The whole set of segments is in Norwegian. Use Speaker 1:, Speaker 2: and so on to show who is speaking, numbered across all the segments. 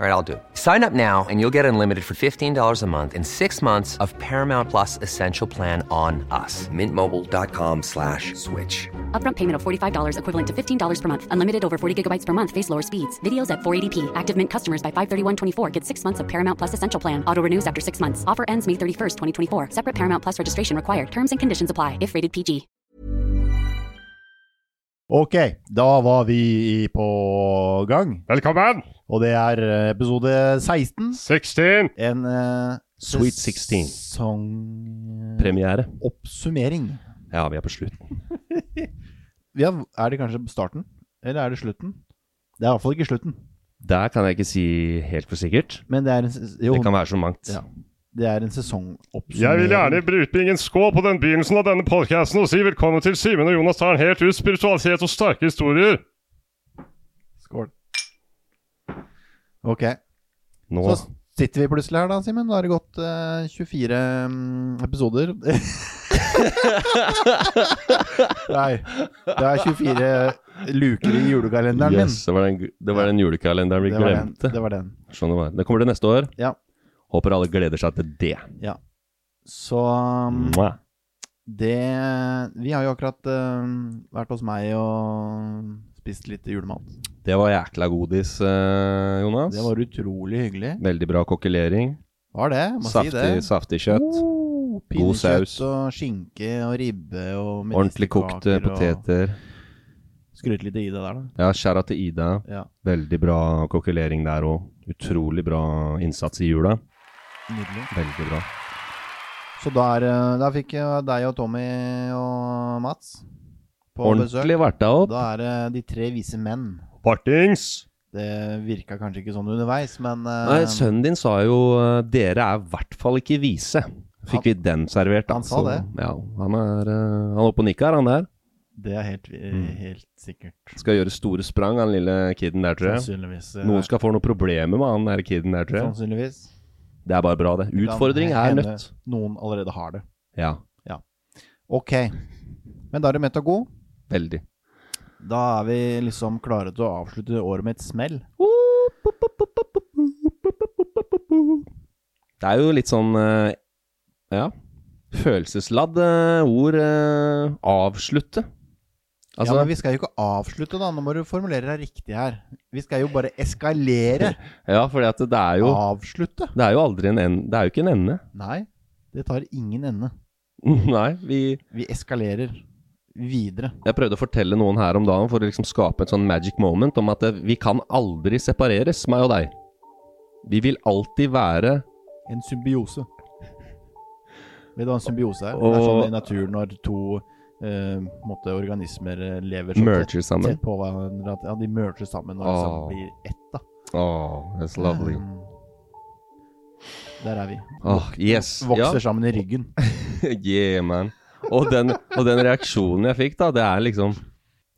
Speaker 1: All right, I'll do. it. Sign up now and you'll get unlimited for $15 a month in six months of Paramount Plus Essential Plan on us. Mintmobile.com slash switch.
Speaker 2: Upfront payment of $45 equivalent to $15 per month. Unlimited over 40 gigabytes per month. Face lower speeds. Videos at 480p. Active Mint customers by 531.24 get six months of Paramount Plus Essential Plan. Auto renews after six months. Offer ends May 31st, 2024. Separate Paramount Plus registration required. Terms and conditions apply if rated PG.
Speaker 3: Ok, da var vi i- på gang,
Speaker 4: Velkommen!
Speaker 3: og det er eh, episode 16.
Speaker 4: 16!
Speaker 3: En eh,
Speaker 4: Sweet 16. Premiere.
Speaker 3: Sesongoppsummering.
Speaker 4: Ja, vi er på slutten.
Speaker 3: Vi har- er det kanskje starten, eller er det slutten? Det er i hvert fall ikke slutten,
Speaker 4: Der kan jeg ikke si helt for sikkert.
Speaker 3: men det er en, ses- jo,
Speaker 4: Det kan være så mangt.
Speaker 3: ja, det er en sesongoppsummering.
Speaker 4: Jeg vil gjerne brutbringe en skål på den begynnelsen av denne podcasten og si velkommen til Simen og Jonas tar en helt ut spiritualitet og sterke historier.
Speaker 3: Skål. Ok,
Speaker 4: Nå
Speaker 3: så sitter vi plutselig her da, Simen. Da har det gått eh, 24 mm, episoder. Nei, det er 24 luker i julekalenderen min.
Speaker 4: yes, det, var den, det var den julekalenderen vi
Speaker 3: Det var den.
Speaker 4: glemte.
Speaker 3: Det var den.
Speaker 4: Sånn det var. Det kommer det neste år.
Speaker 3: Ja.
Speaker 4: Håper alle gleder seg til det.
Speaker 3: ja. Så um,
Speaker 4: Mwah.
Speaker 3: det Vi har jo akkurat um, vært hos meg og spist litt julemat.
Speaker 4: Det var jækla godis, eh, Jonas.
Speaker 3: Det var utrolig hyggelig.
Speaker 4: Veldig bra kokkelering.
Speaker 3: Var det, må
Speaker 4: Saftig,
Speaker 3: si det.
Speaker 4: saftig kjøtt.
Speaker 3: Oh,
Speaker 4: God
Speaker 3: pinnekjøtt
Speaker 4: saus.
Speaker 3: og skinke og ribbe og medisterkaker
Speaker 4: Ordentlig kokte
Speaker 3: og-
Speaker 4: poteter.
Speaker 3: Skryte litt i det der, da.
Speaker 4: Ja, skjæra til Ida.
Speaker 3: Ja,
Speaker 4: Veldig bra kokkelering der òg. Utrolig bra innsats i jula.
Speaker 3: nydelig.
Speaker 4: Veldig bra.
Speaker 3: Så der, eh, der fikk jeg deg og Tommy og Mats på
Speaker 4: Ordentlig
Speaker 3: besøk.
Speaker 4: varta opp.
Speaker 3: Da er det De tre vise menn.
Speaker 4: Partings!
Speaker 3: Det virka kanskje ikke sånn underveis, men eh,
Speaker 4: Nei, sønnen din sa jo eh, 'dere er i hvert fall ikke vise'. Fikk vi den servert, da.
Speaker 3: han sa
Speaker 4: så-
Speaker 3: det.
Speaker 4: Ja, han er, eh, han er oppe og nikker, han der.
Speaker 3: det er helt,
Speaker 4: Mm.
Speaker 3: eh, helt sikkert.
Speaker 4: Skal gjøre store sprang, han lille kiden der, tror jeg.
Speaker 3: Sannsynligvis. eh,
Speaker 4: Noen skal få noen problemer med han der kiden der, tror jeg.
Speaker 3: Sannsynligvis.
Speaker 4: Det er bare bra, det.
Speaker 3: Sånn Kan
Speaker 4: Utfordring er
Speaker 3: hende
Speaker 4: nødt.
Speaker 3: Noen allerede har det.
Speaker 4: Ja,
Speaker 3: Ok. Men da er det mett og god.
Speaker 4: veldig.
Speaker 3: Da er vi liksom klare til å avslutte året med et smell.
Speaker 4: Det er jo litt sånn eh, Ja. Følelsesladde ord. eh, Avslutte.
Speaker 3: ja,
Speaker 4: Altså,
Speaker 3: men vi skal jo ikke avslutte, da. Nå må du formulere deg riktig her. Vi skal jo bare eskalere.
Speaker 4: ja, fordi at det er jo
Speaker 3: Avslutte.
Speaker 4: Det er jo aldri en ende. Det er jo ikke en ende.
Speaker 3: Nei, det tar ingen ende.
Speaker 4: Nei, vi
Speaker 3: Vi eskalerer videre.
Speaker 4: Jeg prøvde å fortelle noen her om dagen for å liksom skape et sånn magic moment om at eh, vi kan aldri separeres, meg og deg. Vi vil alltid være
Speaker 3: En symbiose. Vet du hva en symbiose er? Det er
Speaker 4: Og-
Speaker 3: sånn i naturen når to eh, måte, organismer eh, lever så tett-
Speaker 4: merger sammen.
Speaker 3: tett på hverandre at ja, de merger sammen og liksom
Speaker 4: Åh.
Speaker 3: blir ett. da.
Speaker 4: Oh, that's lovely.
Speaker 3: Mm. Der er vi.
Speaker 4: Åh, yes. Ja.
Speaker 3: Vokser sammen i ryggen.
Speaker 4: yeah, man. Og den, og den reaksjonen jeg fikk, da, det er liksom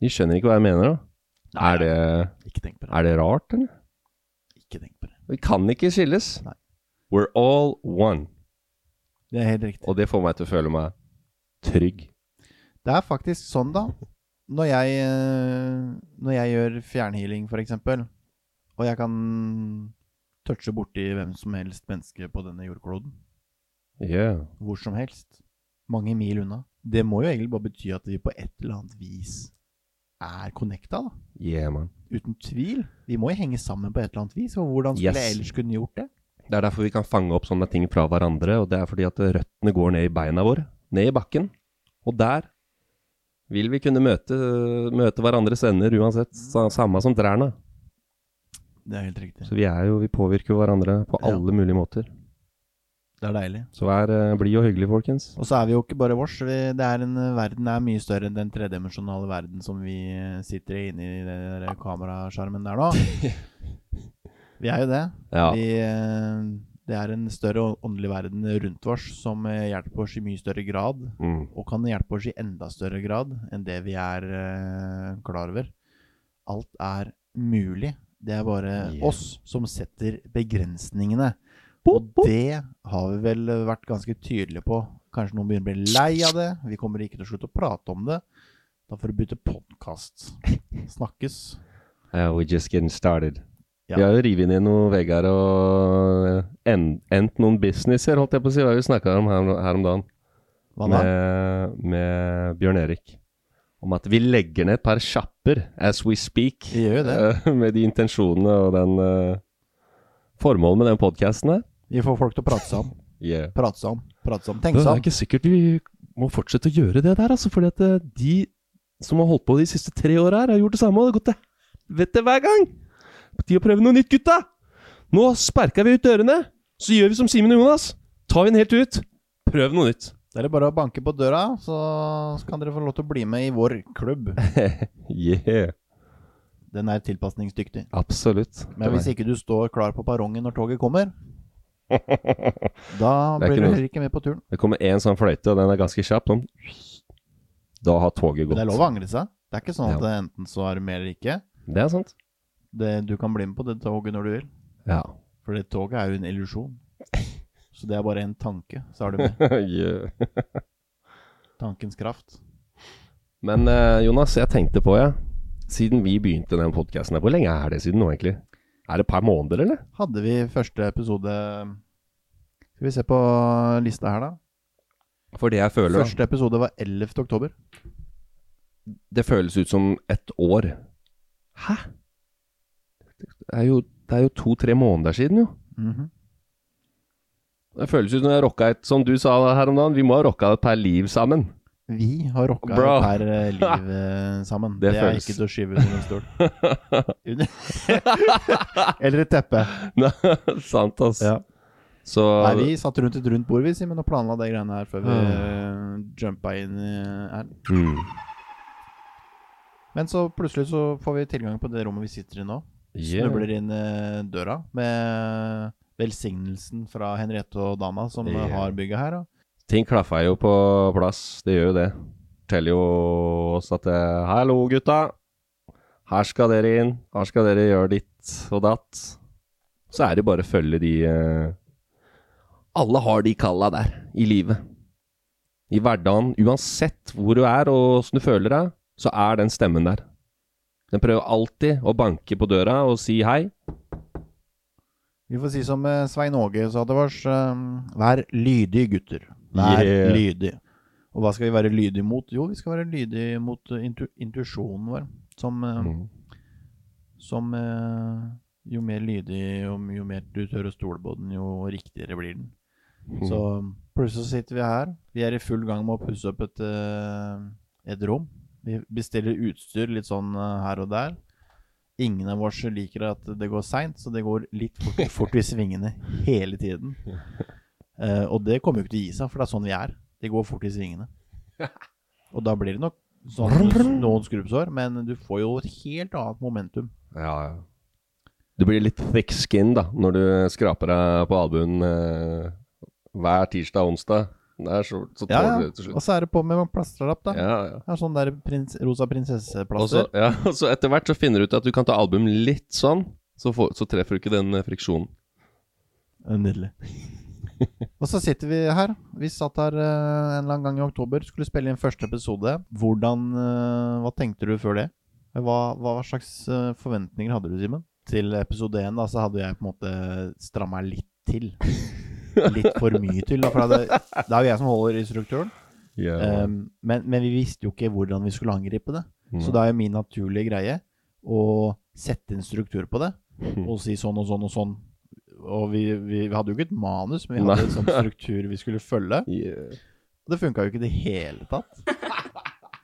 Speaker 4: De skjønner ikke hva jeg mener, da. Er det,
Speaker 3: Ikke tenk på det.
Speaker 4: er det rart, eller?
Speaker 3: Ikke tenk på det.
Speaker 4: Vi kan ikke skilles.
Speaker 3: Nei.
Speaker 4: We're all one.
Speaker 3: Det er helt riktig.
Speaker 4: Og det får meg til å føle meg trygg.
Speaker 3: Det er faktisk sånn, da. Når jeg, eh, når jeg gjør fjernhealing, f.eks., og jeg kan touche borti hvem som helst menneske på denne jordkloden,
Speaker 4: Yeah.
Speaker 3: hvor som helst, mange mil unna, Det må jo egentlig bare bety at vi på et eller annet vis er connecta, da.
Speaker 4: Yeah, man.
Speaker 3: Uten tvil. Vi må jo henge sammen på et eller annet vis. Og hvordan skulle
Speaker 4: Yes.
Speaker 3: jeg ellers kunne gjort det?
Speaker 4: Det er derfor vi kan fange opp sånne ting fra hverandre, og det er fordi at røttene går ned i beina våre, ned i bakken. Og der vil vi kunne møte, møte hverandres ender uansett, sa- samme som trærne.
Speaker 3: Det er helt riktig.
Speaker 4: Så vi er jo, vi påvirker hverandre på
Speaker 3: Ja.
Speaker 4: alle mulige måter.
Speaker 3: Det er deilig.
Speaker 4: Så vær eh, blid og hyggelig, folkens.
Speaker 3: Og så er vi jo ikke bare vårs. Vi, det er en, verden er mye større enn den tredimensjonale verden som vi eh, sitter i inni den der kameraskjermen der nå. Vi er jo det.
Speaker 4: Ja.
Speaker 3: Vi, eh, det er en større å- åndelig verden rundt oss som eh, hjelper oss i mye større grad,
Speaker 4: Mm.
Speaker 3: og kan hjelpe oss i enda større grad enn det vi er eh, klar over. Alt er mulig. Det er bare
Speaker 4: Yeah.
Speaker 3: oss som setter begrensningene. Og det har vi vel vært ganske tydelige på. Kanskje noen begynner å bli lei av det. Vi kommer ikke til å slutte å prate om det. Da får du bytte podkast. Snakkes.
Speaker 4: Uh, we're just getting started.
Speaker 3: Ja.
Speaker 4: Vi har jo rivet ned noen vegger og eh, en- endt noen businesser, holdt jeg på å si. Hva vi snakka om her, her om dagen
Speaker 3: Hva da?
Speaker 4: med, med Bjørn Erik. Om at vi legger ned et par sjapper as we speak.
Speaker 3: Vi gjør jo det.
Speaker 4: eh, med de intensjonene og den eh, formålet med den podkasten her.
Speaker 3: Vi får folk til å prate sammen.
Speaker 4: Yeah.
Speaker 3: Prate sammen. Prate sammen.
Speaker 4: Det
Speaker 3: Tenke
Speaker 4: er
Speaker 3: sammen.
Speaker 4: ikke sikkert vi må fortsette å gjøre det der, altså. Fordi at eh, de som har holdt på de siste tre åra her, har gjort det samme. Og det har gått til helvete hver gang. På tide å prøve noe nytt, gutta! Nå sparker vi ut dørene. Så gjør vi som Simen og Jonas. Tar vi den helt ut. Prøv noe nytt.
Speaker 3: Det er det bare å banke på døra, så kan dere få lov til å bli med i vår klubb.
Speaker 4: Yeah.
Speaker 3: Den er tilpasningsdyktig.
Speaker 4: Absolutt.
Speaker 3: Men hvis ikke du står klar på perrongen når toget kommer, da
Speaker 4: Det er
Speaker 3: blir
Speaker 4: ikke
Speaker 3: du
Speaker 4: noe-
Speaker 3: heller ikke med på turen.
Speaker 4: Det kommer én sånn fløyte, og den er ganske kjapp. Sånn. Da har toget
Speaker 3: Men
Speaker 4: gått.
Speaker 3: det er lov å angre seg. Det er ikke sånn at
Speaker 4: Ja.
Speaker 3: det enten så er du med eller ikke.
Speaker 4: Det er sant.
Speaker 3: Det, du kan bli med på det toget når du vil.
Speaker 4: Ja.
Speaker 3: For det toget er jo en illusjon. Så det er bare en tanke, så er du med.
Speaker 4: yeah.
Speaker 3: Tankens kraft.
Speaker 4: Men eh, Jonas, jeg tenkte på, ja. Siden vi begynte den podkasten her, hvor lenge er det siden nå, egentlig? Er det et par måneder, eller?
Speaker 3: Hadde vi første episode Skal vi se på lista her, da.
Speaker 4: For det jeg føler, da,
Speaker 3: Første episode var 11. oktober.
Speaker 4: det føles ut som et år. Hæ? Det er jo, det er jo to-tre måneder siden, jo.
Speaker 3: Mhm.
Speaker 4: Det føles ut som jeg rocka et Som du sa her om dagen, vi må ha rocka et per liv sammen.
Speaker 3: Vi har rocka
Speaker 4: Bro.
Speaker 3: per eh, liv eh, sammen. Det,
Speaker 4: Det
Speaker 3: er
Speaker 4: føles.
Speaker 3: ikke til å skyve under en stol. Under- Eller et teppe.
Speaker 4: Nei, Sant, ass.
Speaker 3: Ja.
Speaker 4: Så
Speaker 3: Nei, vi satt rundt et rundt bord, vi, Simen, og planla de greiene her før vi
Speaker 4: Ah.
Speaker 3: eh, jumpa inn i her.
Speaker 4: mm.
Speaker 3: Men så plutselig så får vi tilgang på det rommet vi sitter i nå.
Speaker 4: Yeah.
Speaker 3: Snubler inn eh, døra med velsignelsen fra Henriette og dama som eh,
Speaker 4: Ja.
Speaker 3: har bygget her. Da.
Speaker 4: Ting klaffa jo på plass, det gjør jo det. Forteller jo oss at eh, Hallo, gutta. Her skal dere inn. Her skal dere gjøre ditt og datt. Så er det bare å følge de eh, Alle har de kalla der i livet. I hverdagen. Uansett hvor du er og åssen du føler deg, så er den stemmen der. Den prøver alltid å banke på døra og si hei.
Speaker 3: Vi får si som eh, Svein Åge sa til oss, eh, vær lydige gutter. Vær
Speaker 4: Yeah.
Speaker 3: lydige. Og hva skal vi være lydige mot? Jo, vi skal være lydige mot eh, intu intuisjonen vår. Som, eh, som eh, jo mer lydig, jo, jo mer du tør å stole på den, jo riktigere blir den. Så um, plutselig så sitter vi her. Vi er i full gang med å pusse opp et, eh, et rom. Vi bestiller utstyr litt sånn eh, her og der. Ingen av oss liker at det går seint, så det går litt fort, fort i svingene hele tiden. Eh, og det kommer jo ikke til å gi seg, for det er sånn vi er. Det går fort i svingene. Og da blir det nok sånn, noen skrubbsår, men du får jo et helt annet momentum.
Speaker 4: Ja, ja. Du blir litt thick skin da, når du skraper deg på albuen eh, hver tirsdag og onsdag. Der så, så
Speaker 3: Ja,
Speaker 4: tåler du
Speaker 3: ja.
Speaker 4: det til
Speaker 3: Og
Speaker 4: slutt.
Speaker 3: så er det på med plasterlapp, da.
Speaker 4: Ja, ja.
Speaker 3: Det er sånn der prins, rosa
Speaker 4: Og så,
Speaker 3: prinsesseplaster.
Speaker 4: ja, og så etter hvert så finner du ut at du kan ta album litt sånn, så, får, så treffer du ikke den eh, friksjonen.
Speaker 3: Nydelig. Og så sitter vi her. Vi satt her eh, en eller annen gang i oktober, skulle spille inn første episode. Hvordan eh, Hva tenkte du før det? Hva, hva slags eh, forventninger hadde du, Simen? Til episode én da, så hadde jeg på en måte stramma litt til. Litt for mye til, da, for det, det er jo jeg som holder instruktøren.
Speaker 4: Ja.
Speaker 3: Um, men, men vi visste jo ikke hvordan vi skulle angripe det. Så
Speaker 4: Nei.
Speaker 3: da er jo min naturlige greie å sette en struktur på det, og si sånn og sånn og sånn. Og vi, vi, vi hadde jo ikke et manus, men vi
Speaker 4: Nei.
Speaker 3: hadde en sånn struktur vi skulle følge.
Speaker 4: Yeah.
Speaker 3: Og det funka jo ikke i det hele tatt.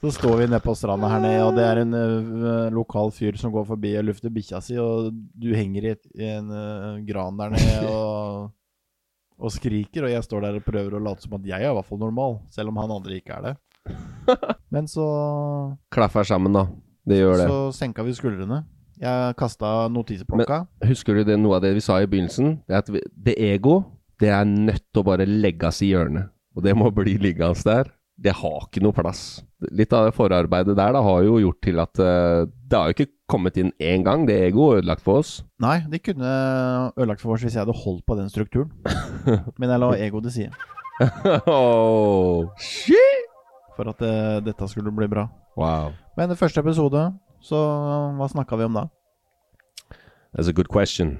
Speaker 3: Så står vi nede på stranda her nede, og det er en ø, lokal fyr som går forbi og lufter bikkja si, og du henger i, et, i en ø, gran der nede og, og skriker, og jeg står der og prøver å late som at jeg er i hvert fall normal, selv om han andre ikke er det. Men så,
Speaker 4: Klaffer sammen, da. Det gjør det.
Speaker 3: så senka vi skuldrene. Jeg kasta notisblokka.
Speaker 4: Husker du det, noe av det vi sa i begynnelsen? Det, er at vi, det ego, det er nødt til å bare legges i hjørnet. Og det må bli liggende der. Det har ikke noe plass. Litt av det forarbeidet der da, har jo gjort til at eh, det har jo ikke kommet inn én gang, det ego er ødelagt for oss.
Speaker 3: Nei, de kunne ødelagt for oss hvis jeg hadde holdt på den strukturen. Men jeg la egoet til side.
Speaker 4: oh, shit!
Speaker 3: for at eh, dette skulle bli bra.
Speaker 4: Wow.
Speaker 3: Men i første episode, så hva snakka vi om da?
Speaker 4: That's a good question.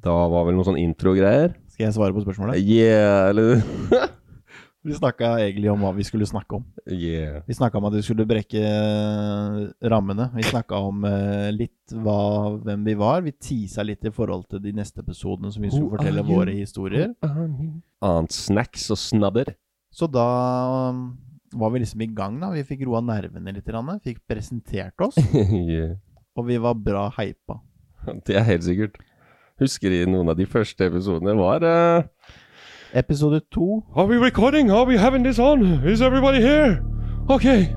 Speaker 4: Da var vel noen sånn intro-greier?
Speaker 3: Skal jeg svare på spørsmålet?
Speaker 4: Yeah, eller
Speaker 3: Vi snakka egentlig om hva vi skulle snakke om.
Speaker 4: Yeah.
Speaker 3: Vi snakka om at vi skulle brekke eh, rammene. Vi snakka om eh, litt hva, hvem vi var. Vi teasa litt i forhold til de neste episodene som vi skulle
Speaker 4: Who
Speaker 3: fortelle
Speaker 4: are you?
Speaker 3: våre historier.
Speaker 4: Annet snacks og snadder.
Speaker 3: Så da um, var vi liksom i gang, da. Vi fikk roa nervene litt, grann, fikk presentert oss,
Speaker 4: yeah.
Speaker 3: og vi var bra hypa.
Speaker 4: Det er helt sikkert. Husker i noen av de første episodene var eh,
Speaker 3: Episode to
Speaker 4: Are we recording? Are we having this on? Is everybody here? Ok.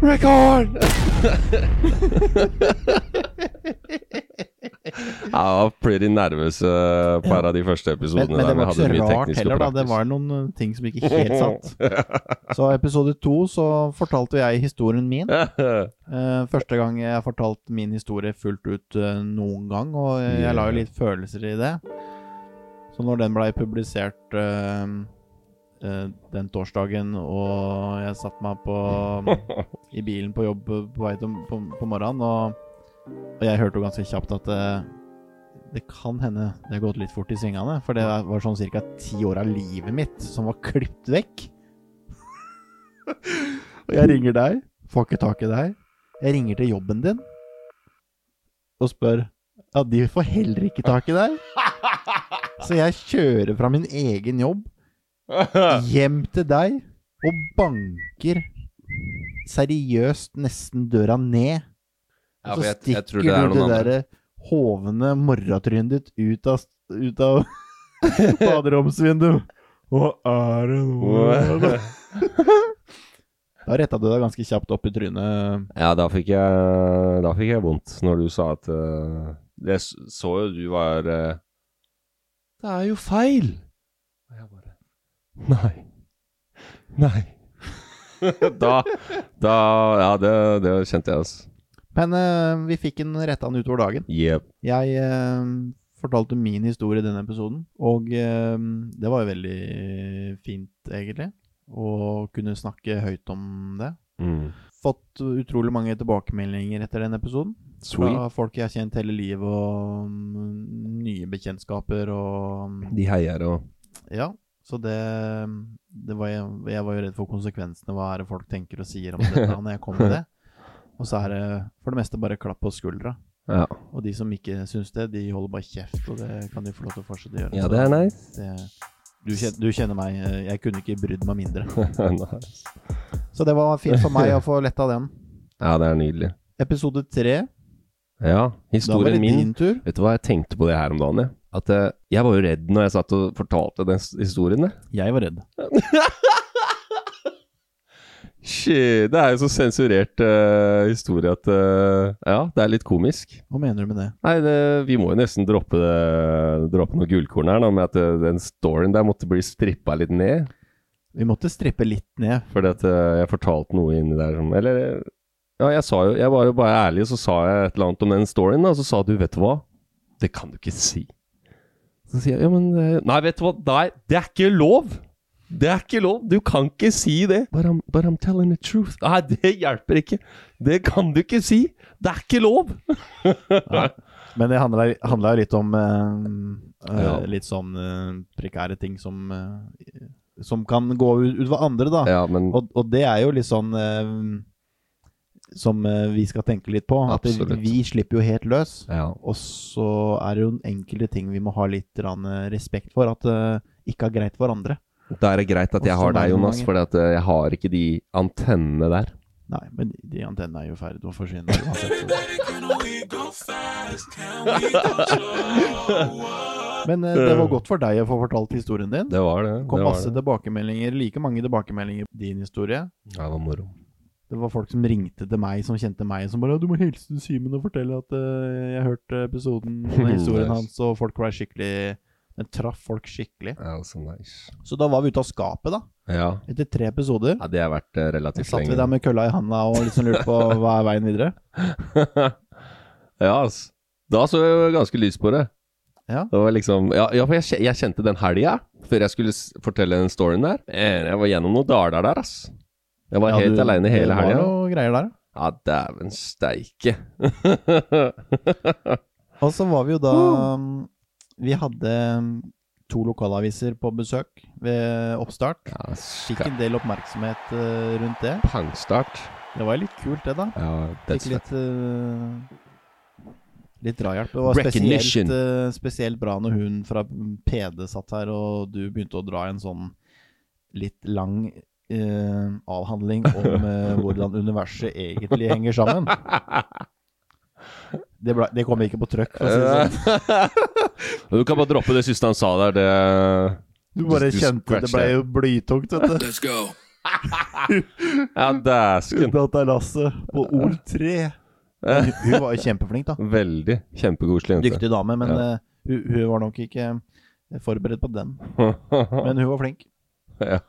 Speaker 4: Record! Jeg var pretty nervøs eh, på en av de første
Speaker 3: Men,
Speaker 4: episodene.
Speaker 3: men det
Speaker 4: der
Speaker 3: var
Speaker 4: vi
Speaker 3: ikke
Speaker 4: hadde mye
Speaker 3: så rart
Speaker 4: teknisk
Speaker 3: heller, da.
Speaker 4: og
Speaker 3: Det
Speaker 4: praktisk.
Speaker 3: var noen uh, ting som ikke helt satt. Så episode to så fortalte jeg historien min. Eh, første gang jeg fortalte min historie fullt ut eh, noen gang, og jeg, jeg la jo litt følelser i det. Så når den blei publisert eh, eh, den torsdagen, og jeg satte meg på, i bilen på jobb eh, på vei til på, på morgenen, og, og jeg hørte jo ganske kjapt at eh, det kan hende det har gått litt fort i svingene, for det var sånn ca. ti år av livet mitt som var klippet vekk. og jeg ringer deg, får ikke tak i deg. Jeg ringer til jobben din og spør Ja, de får heller ikke tak i deg. Så jeg kjører fra min egen jobb hjem til deg og banker seriøst nesten døra ned.
Speaker 4: Ja,
Speaker 3: Og
Speaker 4: for
Speaker 3: så
Speaker 4: jeg, jeg tror
Speaker 3: stikker
Speaker 4: det er
Speaker 3: du det
Speaker 4: noen
Speaker 3: eh,
Speaker 4: andre.
Speaker 3: derre hovne morratrynet ditt ut av, ut av baderomsvinduet. Hva er det nå? Da retta du deg ganske kjapt opp i trynet.
Speaker 4: Ja, da fikk jeg, da fikk jeg vondt når du sa at eh, Jeg s- så jo du var eh, Det er jo feil! Og jeg bare Nei. Nei. da, da Ja, det, det kjente jeg, altså.
Speaker 3: Men eh, vi fikk den retta den utover dagen.
Speaker 4: Yep.
Speaker 3: Jeg eh, fortalte min historie i denne episoden, og eh, det var jo veldig fint, egentlig, å kunne snakke høyt om det.
Speaker 4: Mm.
Speaker 3: Fått utrolig mange tilbakemeldinger etter den episoden. Fra folk jeg har kjent hele livet, og mm, nye bekjentskaper og mm,
Speaker 4: De heier og
Speaker 3: Ja. Så det, det var jeg, jeg var jo redd for konsekvensene. Hva er det folk tenker og sier om dette når jeg kommer med det? Og så er det for det meste bare klapp på skuldra.
Speaker 4: Ja.
Speaker 3: Og de som ikke syns det, de holder bare kjeft, og det kan de få lov til å fortsette å gjøre.
Speaker 4: ja, det er nice.
Speaker 3: Så det- du, kjenner, du kjenner meg, eh, jeg kunne ikke brydd meg mindre.
Speaker 4: nice.
Speaker 3: Så det var fint for meg å få letta den.
Speaker 4: Ja, det er nydelig.
Speaker 3: Episode tre,
Speaker 4: Ja,
Speaker 3: da var
Speaker 4: historien
Speaker 3: det
Speaker 4: min
Speaker 3: din tur.
Speaker 4: Vet du hva, jeg tenkte på det her om dagen, jeg. At eh, jeg var jo redd når jeg satt og fortalte den s- historien, jeg.
Speaker 3: Jeg var redd.
Speaker 4: Shit, det er jo så sensurert eh, historie at eh, Ja, det er litt komisk.
Speaker 3: Hva mener du med det?
Speaker 4: Nei, det, vi må jo nesten droppe, det, droppe noe gullkorn her, da, med at eh, den storyen der måtte bli strippa litt ned.
Speaker 3: Vi måtte strippe litt ned.
Speaker 4: Fordi at eh, jeg fortalte noe inni der som Eller Ja, jeg sa jo Jeg var jo bare ærlig, og så sa jeg et eller annet om den storyen, da, og så sa du, vet du hva, det kan du ikke si. Så sier jeg, ja, men eh, Nei, vet du hva, nei, det er ikke lov! Det er ikke lov! Du kan ikke si det! But I'm, but I'm telling the truth. Nei, det hjelper ikke! Det kan du ikke si! Det er ikke lov!
Speaker 3: Men det handla handla jo litt om eh, eh,
Speaker 4: Ja.
Speaker 3: litt sånn eh, prekære ting som eh, Som kan gå ut- utover andre, da.
Speaker 4: Ja, men
Speaker 3: Og, og det er jo litt sånn eh, som eh, vi skal tenke litt på. At det,
Speaker 4: Absolutt.
Speaker 3: vi slipper jo helt løs.
Speaker 4: ja.
Speaker 3: Og så er det jo enkelte ting vi må ha litt grann, eh, respekt for. At det ikke er greit for andre.
Speaker 4: Da er det greit at jeg
Speaker 3: Og
Speaker 4: har
Speaker 3: sånn er
Speaker 4: deg,
Speaker 3: det noen
Speaker 4: Jonas,
Speaker 3: ganger.
Speaker 4: for jeg har ikke de antennene der.
Speaker 3: Nei, men de antennene er jo i ferd med å forsvinne uansett. Men eh, det var godt for deg å få fortalt historien din.
Speaker 4: Det var det.
Speaker 3: Det
Speaker 4: det
Speaker 3: kom
Speaker 4: var
Speaker 3: masse
Speaker 4: det.
Speaker 3: tilbakemeldinger, like mange tilbakemeldinger på din historie.
Speaker 4: Ja, det var moro.
Speaker 3: Det var folk som ringte til meg, som kjente meg, som bare «Ja, 'Du må hilse til Simen og fortelle at eh, jeg hørte episoden og historien
Speaker 4: Nice.
Speaker 3: hans', og folk var skikkelig Den traff folk skikkelig.
Speaker 4: Ja, så nice.
Speaker 3: Så da var vi ute av skapet, da.
Speaker 4: Ja.
Speaker 3: Etter tre episoder.
Speaker 4: ja, det har vært eh,
Speaker 3: Så
Speaker 4: relativt
Speaker 3: satt vi der med kølla i handa og liksom lurte på hva er veien videre.
Speaker 4: ja, ass. Da så jeg jo ganske lyst på det.
Speaker 3: Ja.
Speaker 4: Det var liksom Ja, ja for jeg, kje- jeg kjente den helga, før jeg skulle s- fortelle den storyen der Eh, Jeg var gjennom noen daler der, ass. Jeg var
Speaker 3: Ja,
Speaker 4: helt
Speaker 3: du-
Speaker 4: aleine hele
Speaker 3: Det
Speaker 4: helga.
Speaker 3: var noe greier der.
Speaker 4: Ja, dæven steike.
Speaker 3: Og så var vi jo da um, Vi hadde um, to lokalaviser på besøk ved oppstart.
Speaker 4: ja,
Speaker 3: Fikk en del oppmerksomhet eh, rundt det.
Speaker 4: Pangstart.
Speaker 3: Det var litt kult, det, da.
Speaker 4: Ja,
Speaker 3: Fikk
Speaker 4: dødsfett.
Speaker 3: litt eh, Litt drahjelp. Det var
Speaker 4: Recognition.
Speaker 3: spesielt, eh, spesielt bra når hun fra PD satt her, og du begynte å dra en sånn litt lang eh, avhandling om eh, hvordan universet egentlig henger sammen. Det, ble, det kom ikke på trøkk, for å si det sånn.
Speaker 4: du kan bare droppe det siste han sa der. Det
Speaker 3: Du bare
Speaker 4: du
Speaker 3: kjente det
Speaker 4: scratcher.
Speaker 3: ble jo blytungt, vet du.
Speaker 4: Ja, dæsken.
Speaker 3: Dette er Lasse på ord tre. Men Hun hun var jo kjempeflink, da.
Speaker 4: Veldig. Kjempekoselig jente.
Speaker 3: Dyktig dame, men
Speaker 4: Ja.
Speaker 3: eh, hun, hun var nok ikke eh, forberedt på den. Men hun var flink.
Speaker 4: ja.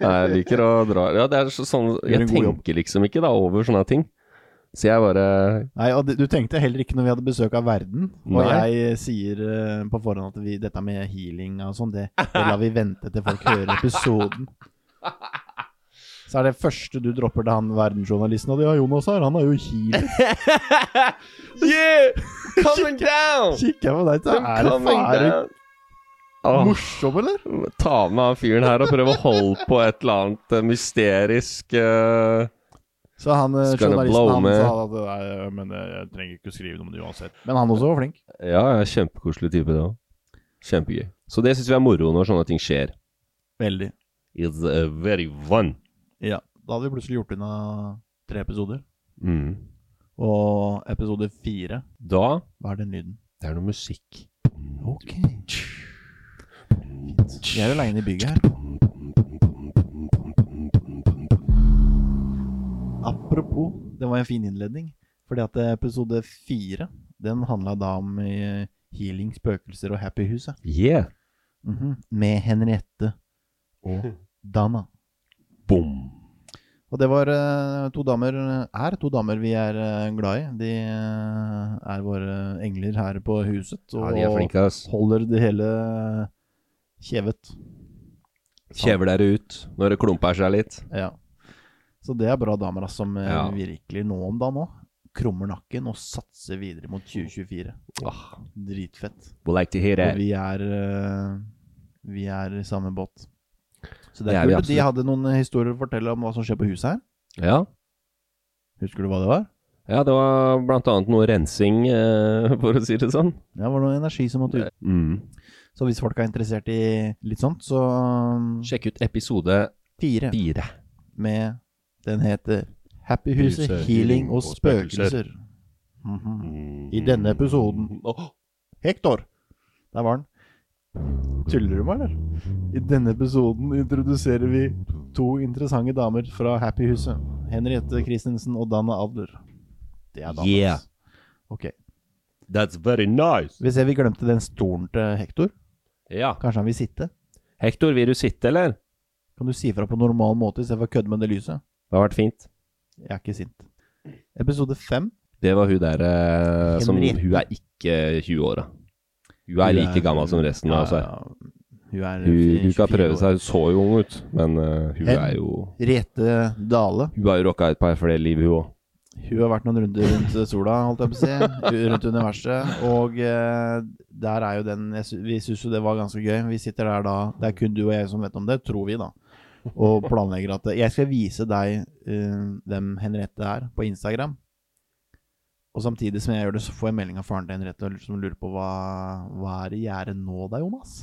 Speaker 4: Nei, jeg liker å dra Ja, det er så- sånn
Speaker 3: Gjør en
Speaker 4: Jeg
Speaker 3: god jobb.
Speaker 4: tenker liksom ikke da over sånne ting. Så jeg bare
Speaker 3: Nei, og det- Du tenkte heller ikke når vi hadde besøk av verden. Og
Speaker 4: Nei.
Speaker 3: jeg eh, sier eh, på forhånd at vi, dette med healing og sånn, det, det lar vi vente til folk hører episoden. Så er det første du dropper til han verdensjournalisten. Og det er Jonas her, han er jo healer.
Speaker 4: Yeah! Coming down!
Speaker 3: Kikker jeg på deg, så er det fære morsom, eller?
Speaker 4: ta med han fyren her og prøve å holde på et eller annet eh, mysterisk eh,
Speaker 3: Så han eh,
Speaker 4: Skal det blow
Speaker 3: journalisten han
Speaker 4: med?
Speaker 3: sa at Nei, men eh, jeg trenger ikke å skrive noe om det uansett. Men han også var flink.
Speaker 4: Ja, jeg er kjempekoselig type, det òg. Kjempegøy. Så det syns vi er moro når sånne ting skjer.
Speaker 3: Veldig.
Speaker 4: It's eh, very fun.
Speaker 3: Ja. Da hadde vi plutselig gjort unna tre episoder.
Speaker 4: Mm.
Speaker 3: Og episode fire,
Speaker 4: Da
Speaker 3: hva er den lyden?
Speaker 4: Det er noe musikk.
Speaker 3: Ok. Vi er aleine i bygget her. Apropos, det var en fin innledning. Fordi at episode fire, den handla da om eh, healing, spøkelser og happyhuset.
Speaker 4: Yeah.
Speaker 3: Mhm. Med Henriette og Dana.
Speaker 4: Bom.
Speaker 3: Og det var eh, to damer er to damer vi er eh, glad i. De eh, er våre engler her på huset. Og
Speaker 4: Ja, de er flinke, ass.
Speaker 3: holder det hele kjevet.
Speaker 4: Kjever dere ut når det klumper seg litt.
Speaker 3: Ja. Så det er bra damer ass, som eh,
Speaker 4: Ja.
Speaker 3: virkelig nå om dagen òg krummer nakken og satser videre mot 2024.
Speaker 4: Ah,
Speaker 3: Dritfett.
Speaker 4: we like to hear
Speaker 3: Og
Speaker 4: that.
Speaker 3: vi er eh, Vi er i samme båt. Så det
Speaker 4: Det er
Speaker 3: er
Speaker 4: vi
Speaker 3: kult. og De
Speaker 4: absolutt.
Speaker 3: hadde noen eh, historier å fortelle om hva som skjer på huset her.
Speaker 4: Ja.
Speaker 3: Husker du hva det var?
Speaker 4: ja, det var blant annet noe rensing, eh, for å si det sånn.
Speaker 3: Ja, det var noe energi som måtte ut.
Speaker 4: Mm.
Speaker 3: Så hvis folk er interessert i litt sånt, så um,
Speaker 4: Sjekk ut episode
Speaker 3: fire
Speaker 4: fire.
Speaker 3: med Den heter Happy Huset,
Speaker 4: Huset,
Speaker 3: Healing
Speaker 4: healing
Speaker 3: og
Speaker 4: og spøkelser.
Speaker 3: Spøkelser. Mhm. I denne episoden Hector! Der var den. Tuller du meg, eller? I denne episoden introduserer vi to interessante damer fra Happy Huset. Henriette Christensen og Danne Adler. Det er damen.
Speaker 4: Yeah.
Speaker 3: Ok.
Speaker 4: That's very nice.
Speaker 3: Vi ser vi glemte den stolen til Hector.
Speaker 4: Ja.
Speaker 3: Kanskje han vil sitte?
Speaker 4: Hector, vil du sitte, eller?
Speaker 3: Kan du si fra på normal måte istedenfor å kødde med det lyset?
Speaker 4: Det har vært fint.
Speaker 3: Jeg er ikke sint. Episode fem.
Speaker 4: Det var hun der eh, som
Speaker 3: Henriette.
Speaker 4: Hun er ikke 20 år, da. Hun er like gammel som resten av oss her.
Speaker 3: Hun er
Speaker 4: Hun,
Speaker 3: 24
Speaker 4: hun skal prøve
Speaker 3: år.
Speaker 4: seg. Hun så jo ung ut, men eh, hun
Speaker 3: Hen-
Speaker 4: er jo
Speaker 3: Rete Dale.
Speaker 4: Hun har jo rocka et par flere liv, hun òg.
Speaker 3: Hun har vært noen runder rundt sola, holdt jeg på å si. Rundt universet. Og eh, der er jo den jeg sy Vi syns jo det var ganske gøy. Vi sitter der da Det er kun du og jeg som vet om det, tror vi, da. Og planlegger at Jeg skal vise deg eh, hvem Henriette er, på Instagram. Og samtidig som jeg gjør det, så får jeg melding av faren til Henriette som lurer på hva, hva er i gjære nå da, Jonas?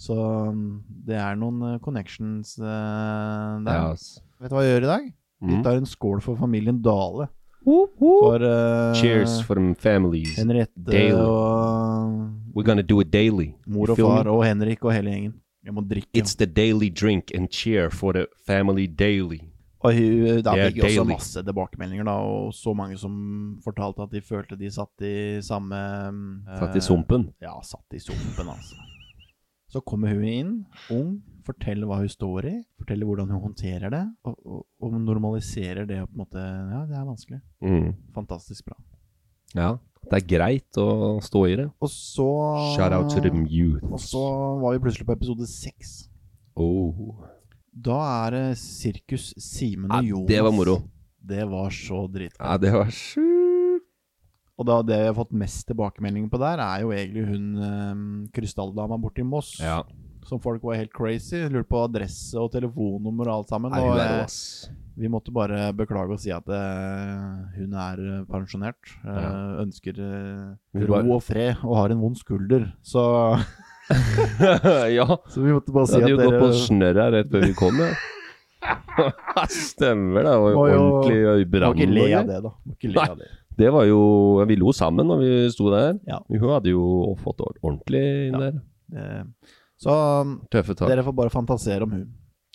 Speaker 3: Så mm, det er noen eh, connections eh, der.
Speaker 4: Ja, ass.
Speaker 3: Vet du hva jeg gjør i dag? Vi
Speaker 4: Mm.
Speaker 3: tar en skål for familien Dale.
Speaker 4: Woo, woo.
Speaker 3: For eh,
Speaker 4: Cheers for m- families.
Speaker 3: Henriette
Speaker 4: Dale.
Speaker 3: og eh,
Speaker 4: We're gonna do it daily.
Speaker 3: mor
Speaker 4: You
Speaker 3: og
Speaker 4: feel me?
Speaker 3: far og Henrik og hele gjengen. Jeg må drikke.
Speaker 4: It's the daily drink and cheer for the family daily.
Speaker 3: Og hun, da
Speaker 4: Yeah,
Speaker 3: fikk jeg også
Speaker 4: daily.
Speaker 3: masse tilbakemeldinger, da, og så mange som fortalte at de følte de satt i samme eh,
Speaker 4: Satt i sumpen.
Speaker 3: Ja, satt i sumpen, altså. Så kommer hun inn, ung, forteller hva hun står i, forteller hvordan hun håndterer det, og, og, og normaliserer det og på en måte Ja, det er vanskelig.
Speaker 4: Mm.
Speaker 3: Fantastisk bra.
Speaker 4: Ja. Det er greit å stå i det.
Speaker 3: Og så
Speaker 4: Shout out to the youth.
Speaker 3: Ah. Og så var vi plutselig på episode seks.
Speaker 4: Oh.
Speaker 3: Da er det Sirkus Simen
Speaker 4: Ja,
Speaker 3: og Jonas.
Speaker 4: det var moro.
Speaker 3: Det var så dritbra.
Speaker 4: Ja, det var sjukt.
Speaker 3: Og da, det jeg har fått mest tilbakemeldinger på der, er jo egentlig hun eh, krystalldama borti Moss.
Speaker 4: Ja.
Speaker 3: Som folk var helt crazy. Lurte på adresse og telefonnummer og alt sammen.
Speaker 4: Nei,
Speaker 3: og
Speaker 4: hun er
Speaker 3: eh,
Speaker 4: rå, ass.
Speaker 3: vi måtte bare beklage og si at eh, hun er eh, pensjonert. eh,
Speaker 4: Ja.
Speaker 3: Ønsker eh,
Speaker 4: Hun
Speaker 3: ro
Speaker 4: var-
Speaker 3: og fred og har en vond skulder. Så,
Speaker 4: ja.
Speaker 3: så vi måtte bare
Speaker 4: Det
Speaker 3: si at
Speaker 4: hadde jo gått på
Speaker 3: dere
Speaker 4: snørra rett før vi kom, ja. Stemmer det. Det var jo
Speaker 3: Må jo-
Speaker 4: ordentlig
Speaker 3: Må
Speaker 4: brann.
Speaker 3: ikke le av
Speaker 4: og greier.
Speaker 3: det, da. Må ikke le
Speaker 4: Nei.
Speaker 3: av det.
Speaker 4: Det var jo Vi lo sammen når vi sto der.
Speaker 3: Ja.
Speaker 4: Hun hadde jo fått ord- ordentlig inn
Speaker 3: Ja.
Speaker 4: der.
Speaker 3: Eh, Så um,
Speaker 4: Tøffe tak.
Speaker 3: dere får bare fantasere om hun.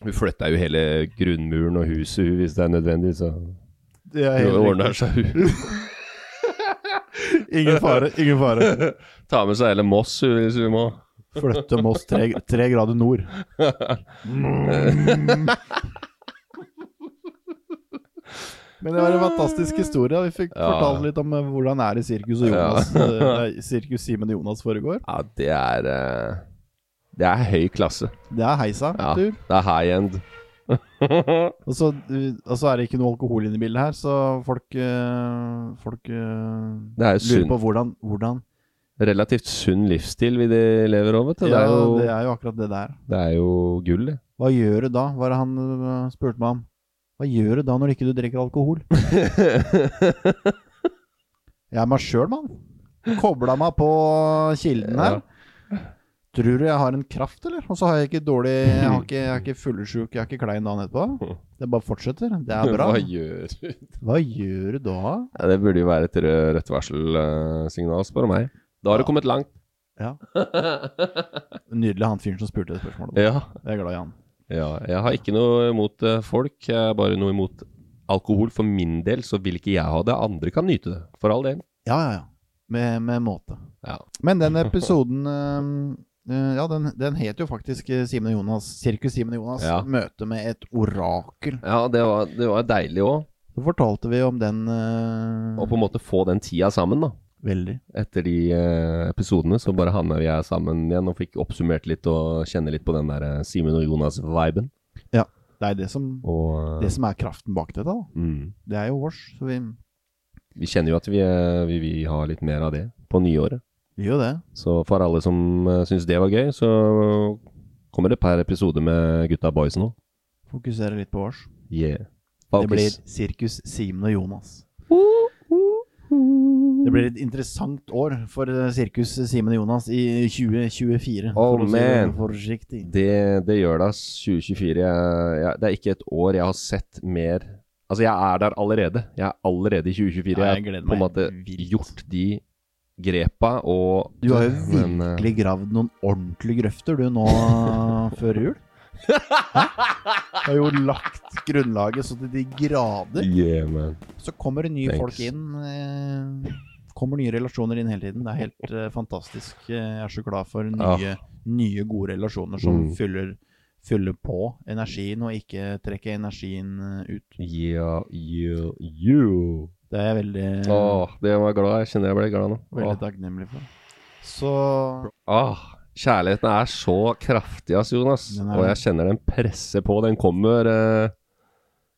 Speaker 4: Hun flytta jo hele grunnmuren og huset hun, hvis det er nødvendig, så
Speaker 3: Det er
Speaker 4: Hun
Speaker 3: helt
Speaker 4: ordner seg, hun.
Speaker 3: riktig. Ingen fare, ingen fare.
Speaker 4: Ta med seg hele Moss, hun, hvis hun må.
Speaker 3: Flytte Moss tre, tre grader nord. Men det var en fantastisk historie. da. Vi fikk
Speaker 4: Ja.
Speaker 3: fortalt litt om eh, hvordan er det Sirkus og Jonas eh, nei, Sirkus Simen og Jonas foregår.
Speaker 4: Ja, det er eh, Det er høy klasse.
Speaker 3: Det er heisa.
Speaker 4: Ja,
Speaker 3: Tur.
Speaker 4: det er high end.
Speaker 3: Og så, eh, og så er det ikke noe alkohol inne i bildet her, så folk, eh, folk eh,
Speaker 4: Det er jo
Speaker 3: lurer
Speaker 4: sunn,
Speaker 3: på hvordan, hvordan
Speaker 4: relativt sunn livsstil vi de lever over. vet du. Det
Speaker 3: Ja,
Speaker 4: er jo,
Speaker 3: det er jo akkurat det der.
Speaker 4: det er jo gull, det.
Speaker 3: Hva gjør du da? Var det han øh, spurte meg om. Hva gjør du da når ikke du drikker alkohol? Jeg er meg sjøl, mann. Kobla meg på kilden her. Tror du jeg har en kraft, eller? Og så har jeg ikke dårlig Jeg, har ikke, jeg er ikke fullesjuk, jeg er ikke klein dagen etterpå. Det bare fortsetter. Det er bra.
Speaker 4: Hva gjør du?
Speaker 3: Hva gjør du da?
Speaker 4: Ja, det burde jo være et rød- rødt varselsignal, spør du meg. Da har du kommet langt.
Speaker 3: Ja. Nydelig han fyren som spurte det spørsmålet.
Speaker 4: Ja.
Speaker 3: Jeg er glad i han.
Speaker 4: ja. Jeg har ikke noe imot eh, folk, jeg har bare noe imot alkohol. For min del så vil ikke jeg ha det. Andre kan nyte det, for all del.
Speaker 3: Ja, ja, ja. Med, med måte.
Speaker 4: Ja.
Speaker 3: Men den episoden eh, eh, Ja, den, den het jo faktisk eh, Simen og Jonas. Sirkus Simen og Jonas.
Speaker 4: Ja.
Speaker 3: Møte med et orakel.
Speaker 4: Ja, det var, det var deilig òg.
Speaker 3: Så fortalte vi om den eh,
Speaker 4: Og på en måte få den tida sammen, da.
Speaker 3: Veldig.
Speaker 4: Etter de eh, episodene så bare havna vi her sammen igjen og fikk oppsummert litt og kjenne litt på den der eh, Simen og Jonas-viben.
Speaker 3: Ja. Det er det som,
Speaker 4: Og eh,
Speaker 3: det som er kraften bak dette. da
Speaker 4: mm,
Speaker 3: Det er jo vårs. Så vi
Speaker 4: vi kjenner jo at vi, eh, vi, vi har litt mer av det på nyåret.
Speaker 3: vi gjør jo det.
Speaker 4: Så for alle som uh, syns det var gøy, så kommer det per episode med gutta boys nå.
Speaker 3: Fokuserer litt på vårs.
Speaker 4: Yeah.
Speaker 3: Det blir
Speaker 4: Folkens,
Speaker 3: Sirkus Simen og Jonas. Det blir et interessant år for eh, Sirkus Simen og Jonas i 2024.
Speaker 4: Oh,
Speaker 3: for å si
Speaker 4: man.
Speaker 3: det Forsiktig.
Speaker 4: det, det gjør det, ass. 2024 jeg, jeg, Det er ikke et år jeg har sett mer Altså, jeg er der allerede. Jeg er allerede i 2024.
Speaker 3: Ja, jeg
Speaker 4: jeg
Speaker 3: gleder
Speaker 4: har på en
Speaker 3: meg
Speaker 4: måte
Speaker 3: vilt.
Speaker 4: gjort de grepa og
Speaker 3: Du har jo
Speaker 4: Men, eh,
Speaker 3: virkelig gravd noen ordentlige grøfter du nå før jul. Hæ? Du har jo lagt grunnlaget så til de grader.
Speaker 4: Yeah, man.
Speaker 3: Så kommer det nye
Speaker 4: Thanks.
Speaker 3: folk inn. Eh, kommer nye relasjoner inn hele tiden. Det er helt eh, fantastisk. Eh, Jeg er så glad for nye, nye gode relasjoner som
Speaker 4: Mm.
Speaker 3: fyller, fyller på energien, og ikke trekker energien eh, ut.
Speaker 4: Yeah, yeah, you.
Speaker 3: Det er jeg veldig,
Speaker 4: Åh, det var jeg glad. Jeg kjenner jeg ble glad nå.
Speaker 3: veldig
Speaker 4: Åh,
Speaker 3: takknemlig for. Så
Speaker 4: Åh, kjærligheten er så kraftig, ass, Jonas.
Speaker 3: Den er
Speaker 4: Og
Speaker 3: det.
Speaker 4: jeg kjenner den presser på. Den kommer eh,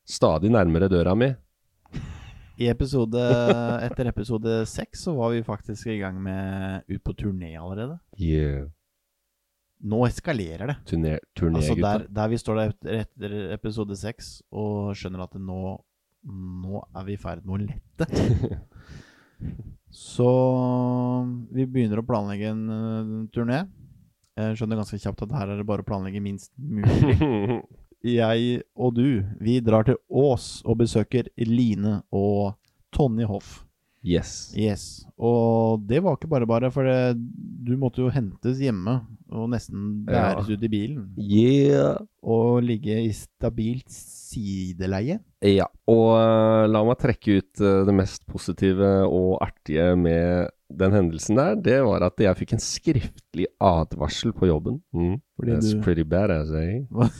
Speaker 4: stadig nærmere døra mi.
Speaker 3: I episode, etter episode seks så var vi faktisk i gang med ut på turné allerede.
Speaker 4: Yeah.
Speaker 3: Nå eskalerer det.
Speaker 4: Turné, turné
Speaker 3: Altså der,
Speaker 4: gutta.
Speaker 3: der vi står der etter- etter episode seks og skjønner at nå, nå er vi i ferd med å lette. Så vi begynner å planlegge en eh, turné. Jeg skjønner ganske kjapt at her er det bare å planlegge minst mulig. Jeg og du, vi drar til Ås og besøker Line og Tonje Hoff.
Speaker 4: yes.
Speaker 3: Yes. Og det var ikke bare bare, for det, du måtte jo hentes hjemme og nesten
Speaker 4: Ja.
Speaker 3: bæres ut i bilen
Speaker 4: Yeah.
Speaker 3: og ligge i stabilt sideleie.
Speaker 4: Ja, og eh, la meg trekke ut eh, det mest positive og artige med den hendelsen der. Det var at jeg fikk en skriftlig advarsel på jobben. Mm.
Speaker 3: Fordi
Speaker 4: That's
Speaker 3: du-
Speaker 4: pretty bad, as I
Speaker 3: Hva?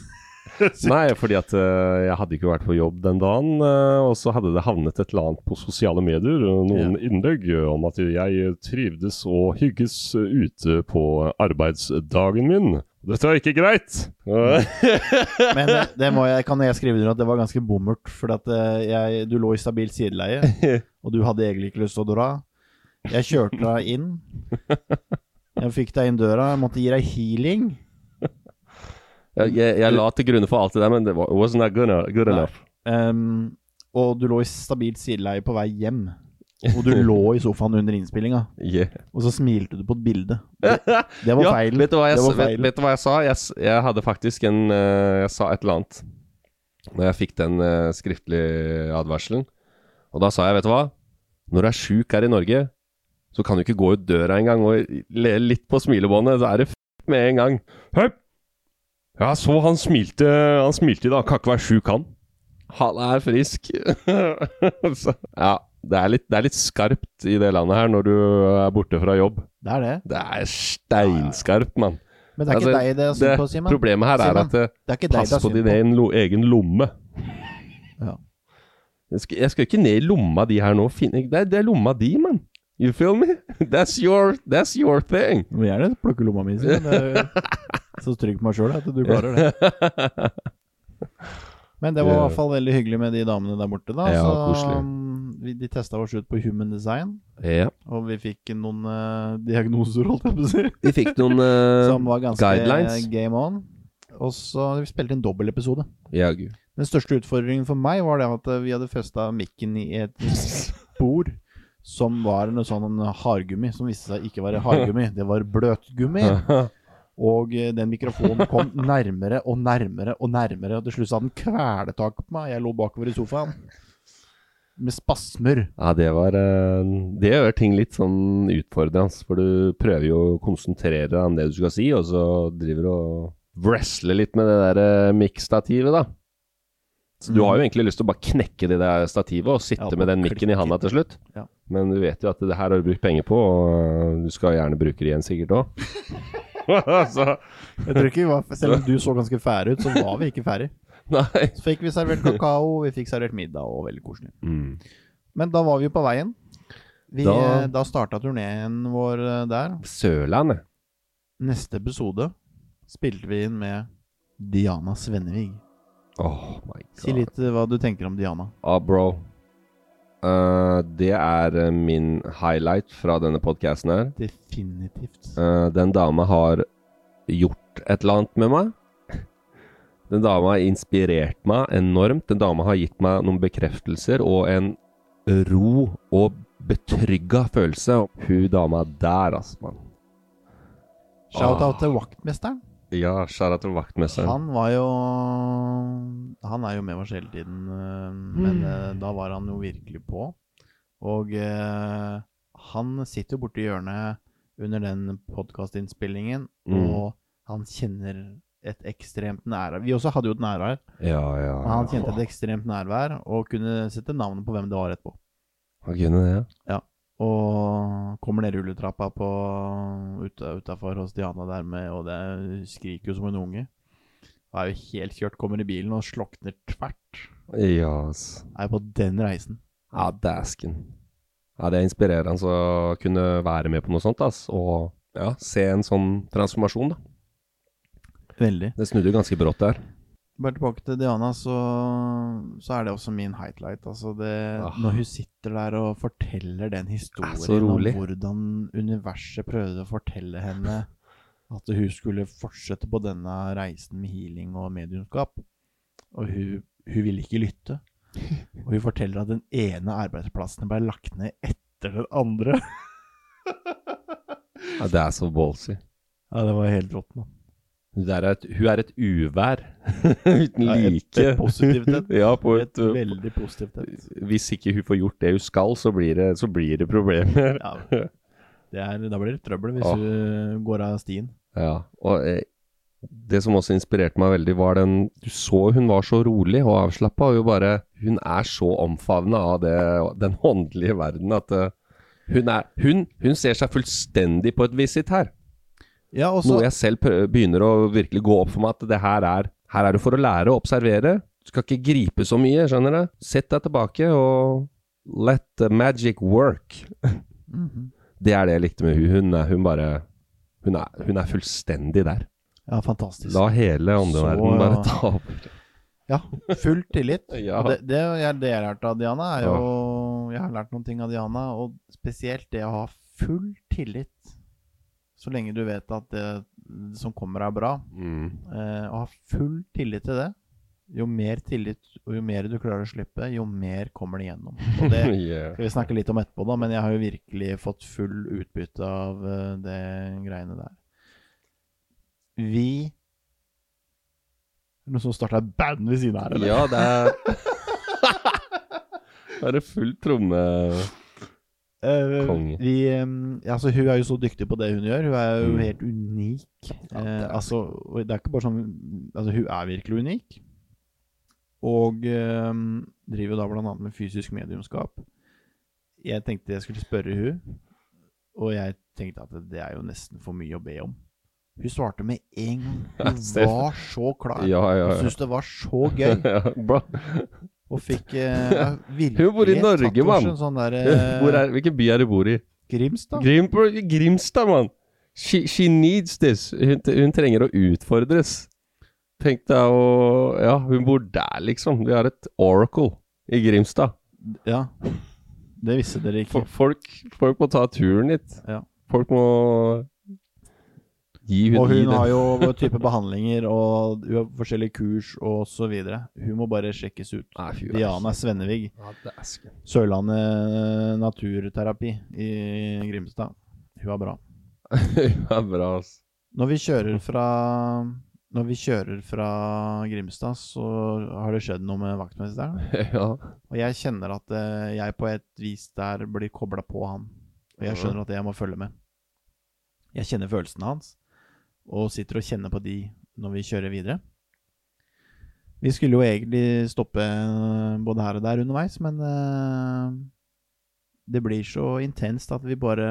Speaker 4: Nei, fordi at eh, jeg hadde ikke vært på jobb den dagen, eh, og så hadde det havnet et eller annet på sosiale medier, og noen innlegg eh, om at jeg trivdes og hygges eh, ute på arbeidsdagen min. Dette er ikke greit!
Speaker 3: Men det, det må jeg, kan jeg skrive under at det var ganske bommert, for at eh, jeg, du lå i stabilt sideleie, og du hadde egentlig ikke lyst til å dra. Jeg kjørte deg inn. Jeg fikk deg inn døra, jeg måtte gi deg healing.
Speaker 4: Jeg, jeg, jeg la til grunne for alt det der, men det var, wasn't that good, uh, good
Speaker 3: Nei.
Speaker 4: enough.
Speaker 3: Ehm, og du lå i stabilt sideleie på vei hjem. Og du lå i sofaen under innspillinga,
Speaker 4: Yeah.
Speaker 3: og så smilte du på et bilde. Det, det var
Speaker 4: Ja,
Speaker 3: feilen.
Speaker 4: Vet du hva jeg,
Speaker 3: det var
Speaker 4: vet,
Speaker 3: feilen.
Speaker 4: vet du hva jeg sa? Jeg, s- jeg hadde faktisk en eh, Jeg sa et eller annet Når jeg fikk den eh, skriftlige advarselen. Og da sa jeg, vet du hva? Når du er sjuk her i Norge, så kan du ikke gå ut døra engang og le litt på smilebåndet. Så er det f*** med en gang. Høy! Ja, så han smilte Han smilte i dag. Kan ikke være sjuk, han. Han er frisk. så, ja. Det er, litt, det er litt skarpt i det landet her når du er borte fra jobb.
Speaker 3: Det er det.
Speaker 4: Det er steinskarpt, mann.
Speaker 3: Men det er ikke
Speaker 4: Altså,
Speaker 3: deg det er synd på, Simen.
Speaker 4: Problemet her er
Speaker 3: Simen,
Speaker 4: at eh,
Speaker 3: Det er ikke deg
Speaker 4: pass
Speaker 3: det er
Speaker 4: på
Speaker 3: synd
Speaker 4: din egen, lo egen lomme.
Speaker 3: Ja.
Speaker 4: Jeg skal, jeg skal ikke ned i lomma di her nå. Finne, det, er, det er lomma di, mann. You feel me? That's your, that's your thing.
Speaker 3: Du må gjerne plukke lomma mi, Simen. Det er Så trygg på meg sjøl at du klarer det. Men det var i hvert fall veldig hyggelig med de damene der borte, da.
Speaker 4: Ja,
Speaker 3: så,
Speaker 4: koselig.
Speaker 3: um, vi, de testa oss ut på Human Design,
Speaker 4: Ja.
Speaker 3: og vi fikk noen eh, diagnoser, holdt jeg på å si,
Speaker 4: Vi fikk noen eh,
Speaker 3: som var ganske
Speaker 4: guidelines.
Speaker 3: game on. Og så vi spilte en dobbeltepisode.
Speaker 4: Ja, gud.
Speaker 3: Den største utfordringen for meg var det at eh, vi hadde festa mikken i et spor som var noe sånn hardgummi, som viste seg ikke være hardgummi, det var bløtgummi. Og eh, den mikrofonen kom nærmere og nærmere og nærmere, og til slutt så hadde den kveletak på meg. Jeg lå bakover i sofaen med spasmer.
Speaker 4: Ja, det var eh, Det gjør ting litt sånn utfordrende, for du prøver jo å konsentrere deg om det du skal si, og så driver du og wrestler litt med det der uh, mikkstativet, da. Så du har jo egentlig lyst til å bare knekke det der stativet og sitte
Speaker 3: Mm. Ja, bare
Speaker 4: med den mikken i handa til slutt,
Speaker 3: Ja.
Speaker 4: men du vet jo at det her har du brukt penger på, og eh, du skal gjerne bruke det igjen sikkert òg. så
Speaker 3: Jeg tror ikke vi var, Selv om du så ganske fære ut, så var vi ikke fære.
Speaker 4: Nei.
Speaker 3: Så fikk vi servert kakao, vi fikk servert middag, og veldig koselig.
Speaker 4: Mm.
Speaker 3: Men da var vi jo på veien. Vi,
Speaker 4: Da-
Speaker 3: da da starta turneen vår eh, der.
Speaker 4: Sørlandet.
Speaker 3: Neste episode spilte vi inn med Diana Svennevig.
Speaker 4: Oh my god.
Speaker 3: Si litt eh, hva du tenker om Diana.
Speaker 4: Ah, bro. Eh, det er eh, min highlight fra denne podkasten her.
Speaker 3: Definitivt.
Speaker 4: Eh, den dama har gjort et eller annet med meg. Den dama har inspirert meg enormt. Den dama har gitt meg noen bekreftelser og en ro og betrygga følelse. Hun dama der, altså, mann.
Speaker 3: Shout-out til vaktmesteren.
Speaker 4: Ja, skjæra til vaktmesteren.
Speaker 3: Han var jo Han er jo med oss hele tiden, øh, men øh, da var han jo virkelig på. Og øh, han sitter jo borti hjørnet under den podkastinnspillingen,
Speaker 4: Mm.
Speaker 3: og han kjenner et ekstremt nærvær. Vi også hadde jo et nærvær,
Speaker 4: Ja, ja.
Speaker 3: men han kjente et ekstremt nærvær og kunne sette navnet på hvem det var etterpå.
Speaker 4: Han kunne det.
Speaker 3: Og kommer ned rulletrappa på uta- utafor hos Diana der med, og det skriker jo som en unge. Og er jo helt kjørt, kommer i bilen og slokner tvert.
Speaker 4: Ja, altså.
Speaker 3: Er på den reisen.
Speaker 4: Ja, dæsken. Ja, det er inspirerende å kunne være med på noe sånt, ass. Og ja, se en sånn transformasjon, da.
Speaker 3: Veldig.
Speaker 4: Det snudde jo ganske brått der.
Speaker 3: Bare tilbake til Diana, så, så er det også min highlight. Altså det,
Speaker 4: Ah.
Speaker 3: Når hun sitter der og forteller den
Speaker 4: Er
Speaker 3: historien
Speaker 4: så
Speaker 3: om
Speaker 4: rolig.
Speaker 3: hvordan universet prøvde å fortelle henne at hun skulle fortsette på denne reisen med healing og mediumskap, og hun, hun ville ikke lytte. Og hun forteller at den ene arbeidsplassen ble lagt ned etter den andre.
Speaker 4: Ja, det er så ballsy.
Speaker 3: Ja, det var helt rått, mann.
Speaker 4: Hun er et, hun er et uvær uten
Speaker 3: Ja, et-
Speaker 4: like.
Speaker 3: et positivt et.
Speaker 4: ja, på
Speaker 3: Et
Speaker 4: et, uh,
Speaker 3: veldig positivt et.
Speaker 4: hvis ikke hun får gjort det hun skal, så blir det, så blir det problemer.
Speaker 3: Ja, det er, da blir det trøbbel hvis
Speaker 4: Åh.
Speaker 3: hun går av stien.
Speaker 4: Ja, og eh, det som også inspirerte meg veldig, var den Du så hun var så rolig og avslappa, og jo bare Hun er så omfavna av det, den håndlige verden at eh, hun, er, hun, hun ser seg fullstendig på et visitt her.
Speaker 3: Ja, og så
Speaker 4: Noe jeg selv prø- begynner å virkelig gå opp for meg at det her er Her er du for å lære og observere. Du skal ikke gripe så mye, skjønner du. Sett deg tilbake og let the magic work. Det er det jeg likte med hun. Hun er, hun bare hun er, hun er fullstendig der.
Speaker 3: Ja, fantastisk.
Speaker 4: La hele åndeverdenen
Speaker 3: Så,
Speaker 4: bare
Speaker 3: ja.
Speaker 4: ta over.
Speaker 3: Ja, full tillit.
Speaker 4: Ja.
Speaker 3: Og det, det, jeg, det jeg har lært av Diana, er jo Jeg har lært noen ting av Diana, og spesielt det å ha full tillit. Så lenge du vet at det som kommer, er bra.
Speaker 4: Mm.
Speaker 3: Eh, å ha full tillit til det. Jo mer tillit og jo mer du klarer å slippe, jo mer kommer det igjennom. Og det
Speaker 4: Yeah.
Speaker 3: skal vi snakke litt om etterpå, da, men jeg har jo virkelig fått full utbytte av eh, det greiene der. Vi Det er Noen som starta band ved siden av her, eller?
Speaker 4: Ja, det er Da er det full tromme
Speaker 3: Eh,
Speaker 4: Konge.
Speaker 3: vi, eh, altså, hun er jo så dyktig på det hun gjør. Hun er jo
Speaker 4: Mm.
Speaker 3: helt unik.
Speaker 4: Ja,
Speaker 3: Eh,
Speaker 4: det er-
Speaker 3: altså, og det er ikke bare sånn altså, Hun er virkelig unik. Og eh, driver jo da bl.a. med fysisk mediumskap. Jeg tenkte jeg skulle spørre hun og jeg tenkte at det er jo nesten for mye å be om. Hun svarte med en gang. Hun
Speaker 4: ser-
Speaker 3: var så klar.
Speaker 4: Ja, ja,
Speaker 3: Hun
Speaker 4: ja.
Speaker 3: syntes det var så gøy.
Speaker 4: Ja, bra.
Speaker 3: Og fikk eh, ja, virkelig
Speaker 4: Hun bor i Norge,
Speaker 3: tatt oss
Speaker 4: mann.
Speaker 3: en Sånn der, eh,
Speaker 4: Hvor er, hvilken by er du bor i?
Speaker 3: Grimstad.
Speaker 4: Grim, Grimstad, mann. She, she needs this. Hun, hun trenger å utfordres. Tenk deg å Ja, hun bor der, liksom. Vi har et oracle i Grimstad.
Speaker 3: Ja. Det visste dere ikke.
Speaker 4: Fo- Folk, folk må ta turen dit.
Speaker 3: Ja.
Speaker 4: Folk må gi hun,
Speaker 3: Og
Speaker 4: gi
Speaker 3: hun
Speaker 4: det.
Speaker 3: har jo type behandlinger og hun har forskjellige kurs og så videre. Hun må bare sjekkes ut.
Speaker 4: Nei, fy,
Speaker 3: Diana Svennevig,
Speaker 4: Ja, dæsken.
Speaker 3: Sørlandet naturterapi i Grimstad. Hun er bra.
Speaker 4: Hun er bra, altså.
Speaker 3: Når vi kjører fra når vi kjører fra Grimstad, så har det skjedd noe med vaktmesteren.
Speaker 4: Ja.
Speaker 3: Og jeg kjenner at eh, jeg på et vis der blir kobla på han. Og jeg skjønner at jeg må følge med. Jeg kjenner følelsene hans, og sitter og kjenner på de når vi kjører videre. Vi skulle jo egentlig stoppe eh, både her og der underveis, men eh, det blir så intenst at vi bare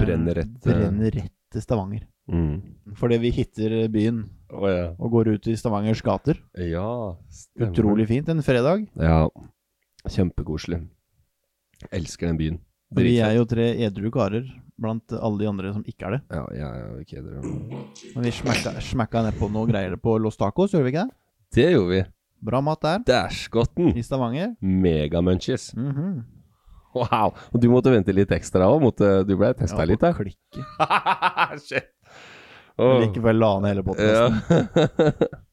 Speaker 4: Brenner rett, eh.
Speaker 3: brenner rett til Stavanger.
Speaker 4: Mm.
Speaker 3: Fordi vi hitter byen
Speaker 4: Å ja.
Speaker 3: og går ut i Stavangers gater.
Speaker 4: Ja, stemmer.
Speaker 3: Utrolig fint en fredag.
Speaker 4: Ja. Kjempekoselig. Elsker den byen.
Speaker 3: Og Vi
Speaker 4: Dritfett.
Speaker 3: er jo tre edru karer blant alle de andre som ikke er det.
Speaker 4: Ja, ja, ja, vi kødder om
Speaker 3: Men vi smakka, smakka nedpå noe greier på Los Tacos, gjorde vi ikke det?
Speaker 4: Det gjorde vi.
Speaker 3: Bra mat der,
Speaker 4: Dæsjgotten!
Speaker 3: i Stavanger.
Speaker 4: Megamunchies.
Speaker 3: Mhm.
Speaker 4: Wow! Og du måtte vente litt ekstra òg. Du ble testa
Speaker 3: Ja,
Speaker 4: litt der.
Speaker 3: Klikke.
Speaker 4: Shit!
Speaker 3: Men
Speaker 4: Åh.
Speaker 3: Likevel la ned hele båten.
Speaker 4: Ja.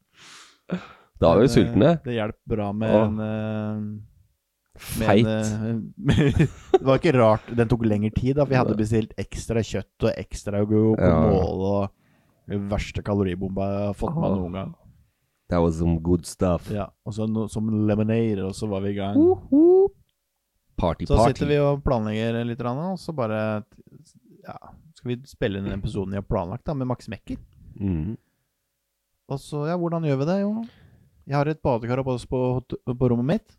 Speaker 3: eh,
Speaker 4: da var vi sultne.
Speaker 3: Det hjalp bra med
Speaker 4: Åh.
Speaker 3: en eh, med
Speaker 4: Feit.
Speaker 3: en, eh, det var ikke rart den tok lengre tid, da. For vi hadde bestilt ekstra kjøtt og ekstra guacamole og den verste kaloribomba jeg har fått med meg noen gang.
Speaker 4: That was some good stuff.
Speaker 3: Ja, og så no, som lemonade, og så var vi i gang.
Speaker 4: Uh. Party,
Speaker 3: Så
Speaker 4: party.
Speaker 3: sitter vi og planlegger litt, rann, og så bare ja, skal vi spille inn den episoden vi har planlagt, da, med Max Mekker.
Speaker 4: Mhm.
Speaker 3: Og så, ja, hvordan gjør vi det? Jo, jeg har et badekar oppe på, på rommet mitt,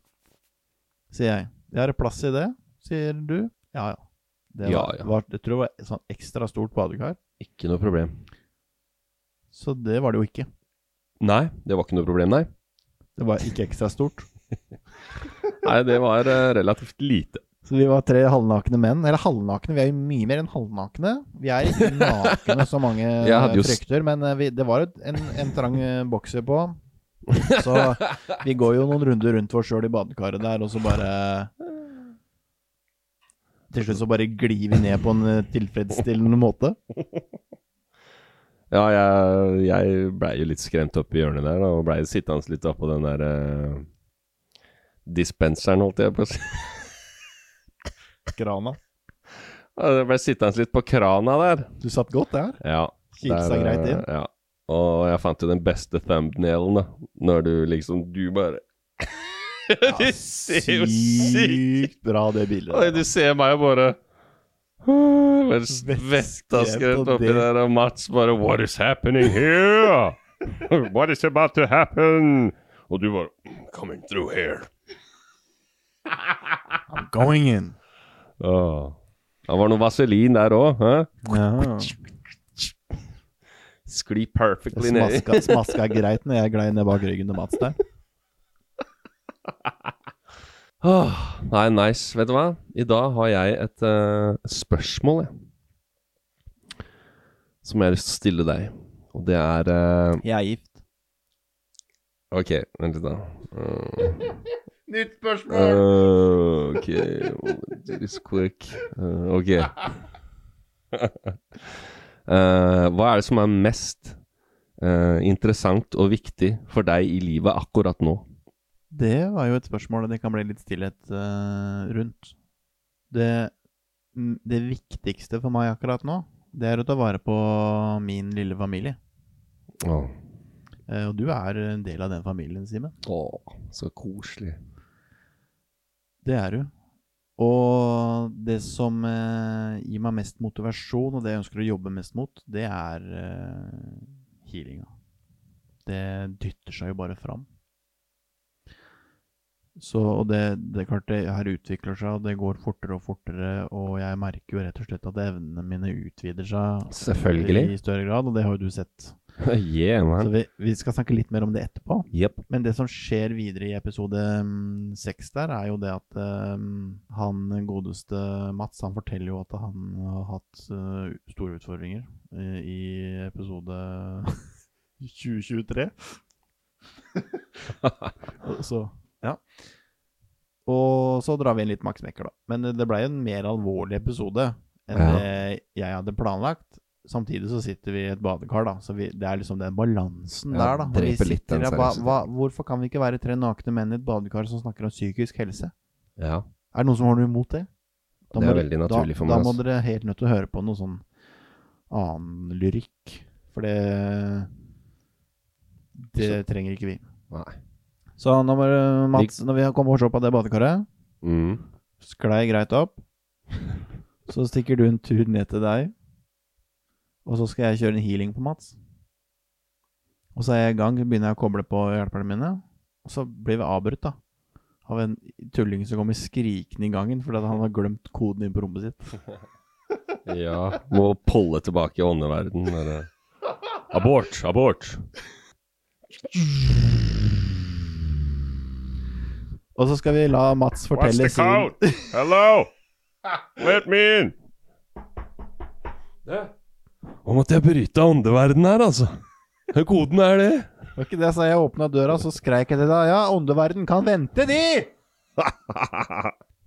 Speaker 3: sier jeg. Jeg har plass i det, sier du. Ja, ja. Det
Speaker 4: Ja,
Speaker 3: var,
Speaker 4: ja.
Speaker 3: Var, jeg tror det var et sånn ekstra stort badekar,
Speaker 4: Ikke noe problem.
Speaker 3: så det var det jo ikke.
Speaker 4: Nei, det var ikke noe problem, nei.
Speaker 3: Det var ikke ekstra stort.
Speaker 4: Nei, det var eh, relativt lite.
Speaker 3: Så vi var tre halvnakne menn. Eller halvnakne, vi er jo mye mer enn halvnakne. Vi er ikke nakne så mange
Speaker 4: hadde jo s-
Speaker 3: frykter, men eh, vi, det var et- en, en trang eh, bokser på. Så vi går jo noen runder rundt oss sjøl i badekaret der, og så bare Til slutt så bare glir vi ned på en eh, tilfredsstillende måte.
Speaker 4: Ja, jeg, jeg blei jo litt skremt opp i hjørnet der, da, og blei sittende litt oppå den der eh, dispenseren, holdt jeg på å si.
Speaker 3: Krana.
Speaker 4: Jeg blei sittende litt på krana der.
Speaker 3: Du satt godt der.
Speaker 4: Ja.
Speaker 3: Kilsa
Speaker 4: der, eh,
Speaker 3: greit inn.
Speaker 4: Ja. Og jeg fant jo den beste thumbnailen, da. Når du liksom Du bare Du ser jo sykt
Speaker 3: Sykt bra, det bildet.
Speaker 4: Oi,
Speaker 3: der,
Speaker 4: du ser meg og bare Bare s-
Speaker 3: Vettskremt
Speaker 4: Vetta skremt
Speaker 3: og
Speaker 4: oppi
Speaker 3: det.
Speaker 4: der, og Mats bare What is happening here? What is about to happen? Og du bare Coming through here.
Speaker 3: da. Going in.
Speaker 4: Åh. Det var noe vaselin der òg.
Speaker 3: Ja.
Speaker 4: Skli perfectly
Speaker 3: Det
Speaker 4: nedi.
Speaker 3: smaska, smaska greit når jeg glei ned bak ryggen til Mats der.
Speaker 4: Åh, Nei, nice. Vet du hva? I dag har jeg et eh, spørsmål, jeg. Som jeg har lyst til å stille deg. Og det er eh,
Speaker 3: Jeg er gift.
Speaker 4: Ok, vent litt, da. Eh,
Speaker 3: Nytt spørsmål!
Speaker 4: eh, ok we'll do this quick. Eh, ok. Eh, hva er det som er mest eh, interessant og viktig for deg i livet akkurat nå?
Speaker 3: Det var jo et spørsmål det kan bli litt stillhet eh, rundt. Det, mm, det viktigste for meg akkurat nå, det er å ta vare på min lille familie.
Speaker 4: Åh,
Speaker 3: Eh, og du er en del av den familien, Simen.
Speaker 4: åh, så koselig.
Speaker 3: Det er du. Og det som eh, gir meg mest motivasjon, og det jeg ønsker å jobbe mest mot, det er eh, healinga. Det dytter seg jo bare fram. Så og det, det er klart det her utvikler seg, og det går fortere og fortere, og jeg merker jo rett og slett at evnene mine utvider seg eh,
Speaker 4: Selvfølgelig.
Speaker 3: i større grad, og det har jo du sett.
Speaker 4: yeah,
Speaker 3: Så
Speaker 4: man.
Speaker 3: vi, vi skal snakke litt mer om det etterpå.
Speaker 4: Jepp.
Speaker 3: Men det som skjer videre i episode mm, seks der, er jo det at mm, han godeste Mats, han forteller jo at han har hatt eh, store utfordringer eh, i episode 2023. Og så, ja. Og så drar vi inn litt Max Mekker, da. Men eh, det ble jo en mer alvorlig episode enn
Speaker 4: Ja.
Speaker 3: det jeg hadde planlagt. Samtidig så sitter vi i et badekar, da. Så vi, det er liksom den balansen
Speaker 4: Ja,
Speaker 3: der, da.
Speaker 4: dreper
Speaker 3: Vi sitter
Speaker 4: litt den
Speaker 3: der, hva,
Speaker 4: seriøsiteten.
Speaker 3: hva, hvorfor kan vi ikke være tre nakne menn i et badekar som snakker om psykisk helse?
Speaker 4: Ja.
Speaker 3: Er det noen som har noe imot det? Da
Speaker 4: Det er
Speaker 3: må dere-
Speaker 4: veldig naturlig
Speaker 3: da,
Speaker 4: for
Speaker 3: Da
Speaker 4: meg,
Speaker 3: må
Speaker 4: altså.
Speaker 3: dere helt nødt til å høre på noe sånn annen lyrikk. For det Det trenger ikke vi.
Speaker 4: Nei.
Speaker 3: Så nå må dere- Mats, når vi kommer oss opp av det badekaret,
Speaker 4: Mm.
Speaker 3: sklei greit opp. Så stikker du en tur ned til deg, og så skal jeg kjøre en healing på Mats. Og så er jeg i gang, begynner jeg å koble på hjelperne mine, og så blir vi avbrutt da. Av en tulling som kommer skrikende i gangen fordi at han har glemt koden inn på rommet sitt.
Speaker 4: Ja. Må polle tilbake i åndeverden. Eller? Abort! Abort!
Speaker 3: Og så skal vi la Mats fortelle sin
Speaker 4: Hello! Let me in! Nå måtte jeg bryte åndeverden her, altså. Koden er det.
Speaker 3: Var ikke det, sa jeg åpna døra, så skreik jeg til deg. Ja, åndeverden kan vente, de!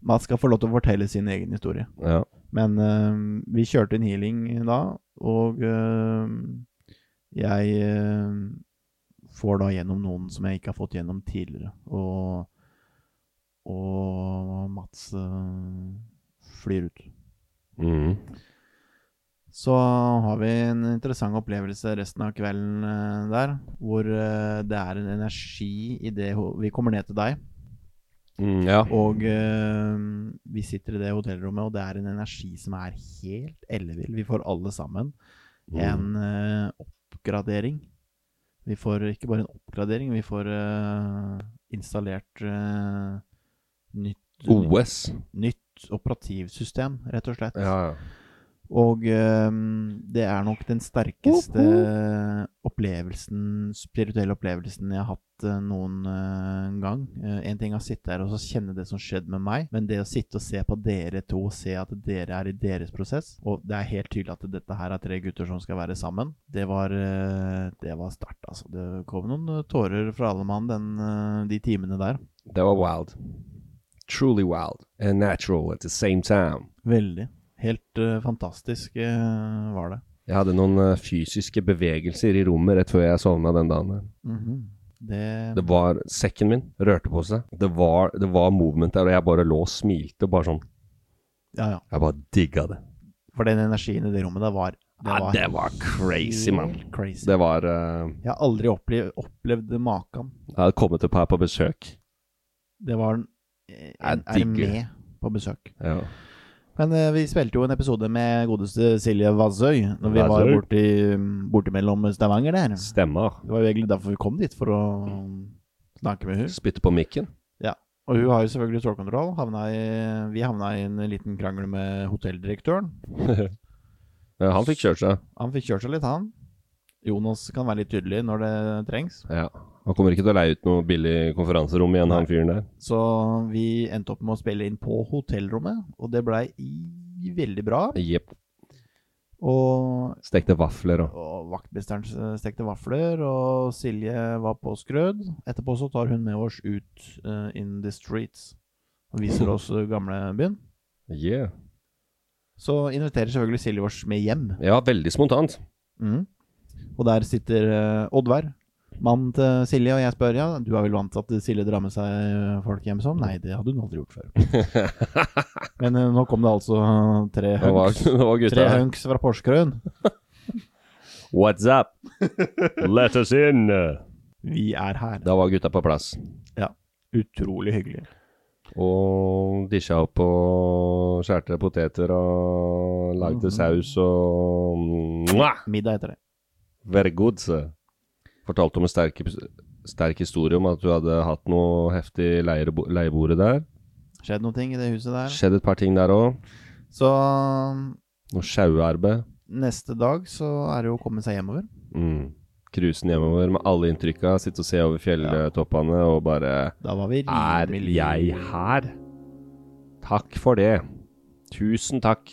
Speaker 3: Mats skal få lov til å fortelle sin egen historie.
Speaker 4: Ja.
Speaker 3: Men eh, vi kjørte en healing da, og eh, jeg eh, får da gjennom noen som jeg ikke har fått gjennom tidligere. Og, og Mats eh, flyr ut.
Speaker 4: Mm.
Speaker 3: Så har vi en interessant opplevelse resten av kvelden eh, der, hvor eh, det er en energi i det ho- Vi kommer ned til deg.
Speaker 4: Mm, ja.
Speaker 3: Og eh, vi sitter i det hotellrommet, og det er en energi som er helt ellevill. Vi får alle sammen en eh, oppgradering. Vi får ikke bare en oppgradering, vi får eh, installert eh, nytt,
Speaker 4: OS. E
Speaker 3: nytt operativsystem, rett og slett.
Speaker 4: Ja, ja.
Speaker 3: Og ehm, det er nok den sterkeste opplevelsen, spirituelle opplevelsen jeg har hatt eh, noen eh, gang. Eh, en ting er å sitte her og så kjenne det som skjedde med meg, men det å sitte og se på dere to og se at dere er i deres prosess, og det er helt tydelig at dette her er tre gutter som skal være sammen, det var, eh, det var sterkt, altså. Det kom noen eh, tårer fra alle mann den, eh, de timene der.
Speaker 4: Det var wild. Truly wild. And natural at the same time.
Speaker 3: Veldig. Helt eh, fantastisk eh, var det.
Speaker 4: Jeg hadde noen eh, fysiske bevegelser i rommet rett før jeg sovna den dagen. her.
Speaker 3: Mhm. Det,
Speaker 4: Det var sekken min rørte på seg. Det var, det var movement der, og jeg bare lå og smilte bare sånn.
Speaker 3: Ja, ja.
Speaker 4: Jeg bare digga det.
Speaker 3: For den energien i det rommet der var Det
Speaker 4: Ja, det var crazy, mann.
Speaker 3: helt crazy.
Speaker 4: Det var eh,
Speaker 3: Jeg har aldri opplevd, opplevd maken.
Speaker 4: Jeg hadde kommet et par på besøk.
Speaker 3: Det var en, en
Speaker 4: Jeg
Speaker 3: er
Speaker 4: digger det.
Speaker 3: med på besøk.
Speaker 4: Ja.
Speaker 3: Men eh, vi spilte jo en episode med godeste Silje Vazøy når vi var
Speaker 4: Vassøy.
Speaker 3: borti, borti mellom Stavanger der. Det
Speaker 4: Stemmer.
Speaker 3: var jo egentlig derfor vi kom dit, for å snakke med hun.
Speaker 4: Spytte på mikken.
Speaker 3: Og hun har jo selvfølgelig stålkontroll. Havna i, vi havna i en liten krangel med hotelldirektøren.
Speaker 4: Ja, han fikk kjørt seg.
Speaker 3: Han fikk kjørt seg litt, han. Jonas kan være litt tydelig når det trengs.
Speaker 4: Ja. Han kommer ikke til å leie ut noe billig konferanserom igjen, han fyren der.
Speaker 3: Så vi endte opp med å spille inn på hotellrommet, og det blei i- veldig bra.
Speaker 4: Jepp.
Speaker 3: Og,
Speaker 4: Stekte vafler og
Speaker 3: og vaktmesteren eh, stekte vafler, og Silje var på skrød. Etterpå så tar hun med oss ut eh, in the streets og viser oss eh, gamlebyen.
Speaker 4: yeah.
Speaker 3: Så inviterer selvfølgelig Silje oss med hjem.
Speaker 4: Ja, veldig spontant.
Speaker 3: Mm. Og der sitter eh, Oddvar, mannen til Silje, og jeg spør ja, du er vel vant til at Silje drar med seg eh, folk hjem sånn? Nei, det hadde hun aldri gjort før. Men eh, nå kom det altså eh, tre
Speaker 4: Det var,
Speaker 3: hunks.
Speaker 4: det var gutta.
Speaker 3: Tre hunks fra Porsgrunn.
Speaker 4: What's up? Let us in!
Speaker 3: Vi er her.
Speaker 4: Da var gutta på plass.
Speaker 3: Ja. Utrolig hyggelig.
Speaker 4: Og disja opp og skjærte poteter og lagde saus og Mwah!
Speaker 3: Middag heter det.
Speaker 4: Very good, sir. Fortalte om en sterk, sterk historie om at du hadde hatt noe heftig leiebo- leiebordet der.
Speaker 3: Skjedd noen ting i det huset der.
Speaker 4: Skjedd et par ting der òg.
Speaker 3: Så eh,
Speaker 4: Noe sjauarbeid.
Speaker 3: neste dag så er det jo å komme seg hjemover.
Speaker 4: Mm. Cruisen hjemover med alle inntrykka. Sitte og se over fjelltoppene og bare
Speaker 3: Da var vi
Speaker 4: Er
Speaker 3: rimelig-
Speaker 4: jeg her? Takk for det. Tusen takk.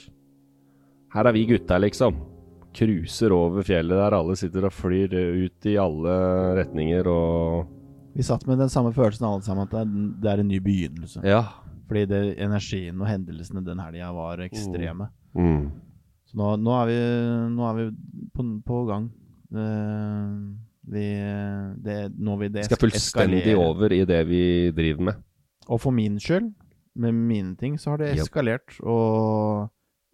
Speaker 4: Her er vi gutta, liksom. Cruiser over fjellet der alle sitter og flyr ut i alle retninger og
Speaker 3: Vi satt med den samme følelsen alle sammen, at det er- det er en ny begynnelse.
Speaker 4: Ja.
Speaker 3: Fordi det, energien og hendelsene den helga var ekstreme.
Speaker 4: Mm.
Speaker 3: Så nå, nå, er vi, nå er vi på, på gang. Eh, vi, det, nå vil det
Speaker 4: Vi skal fullstendig
Speaker 3: eskalere.
Speaker 4: over i det vi driver med.
Speaker 3: Og for min skyld, med mine ting, så har det
Speaker 4: Japp.
Speaker 3: eskalert. Og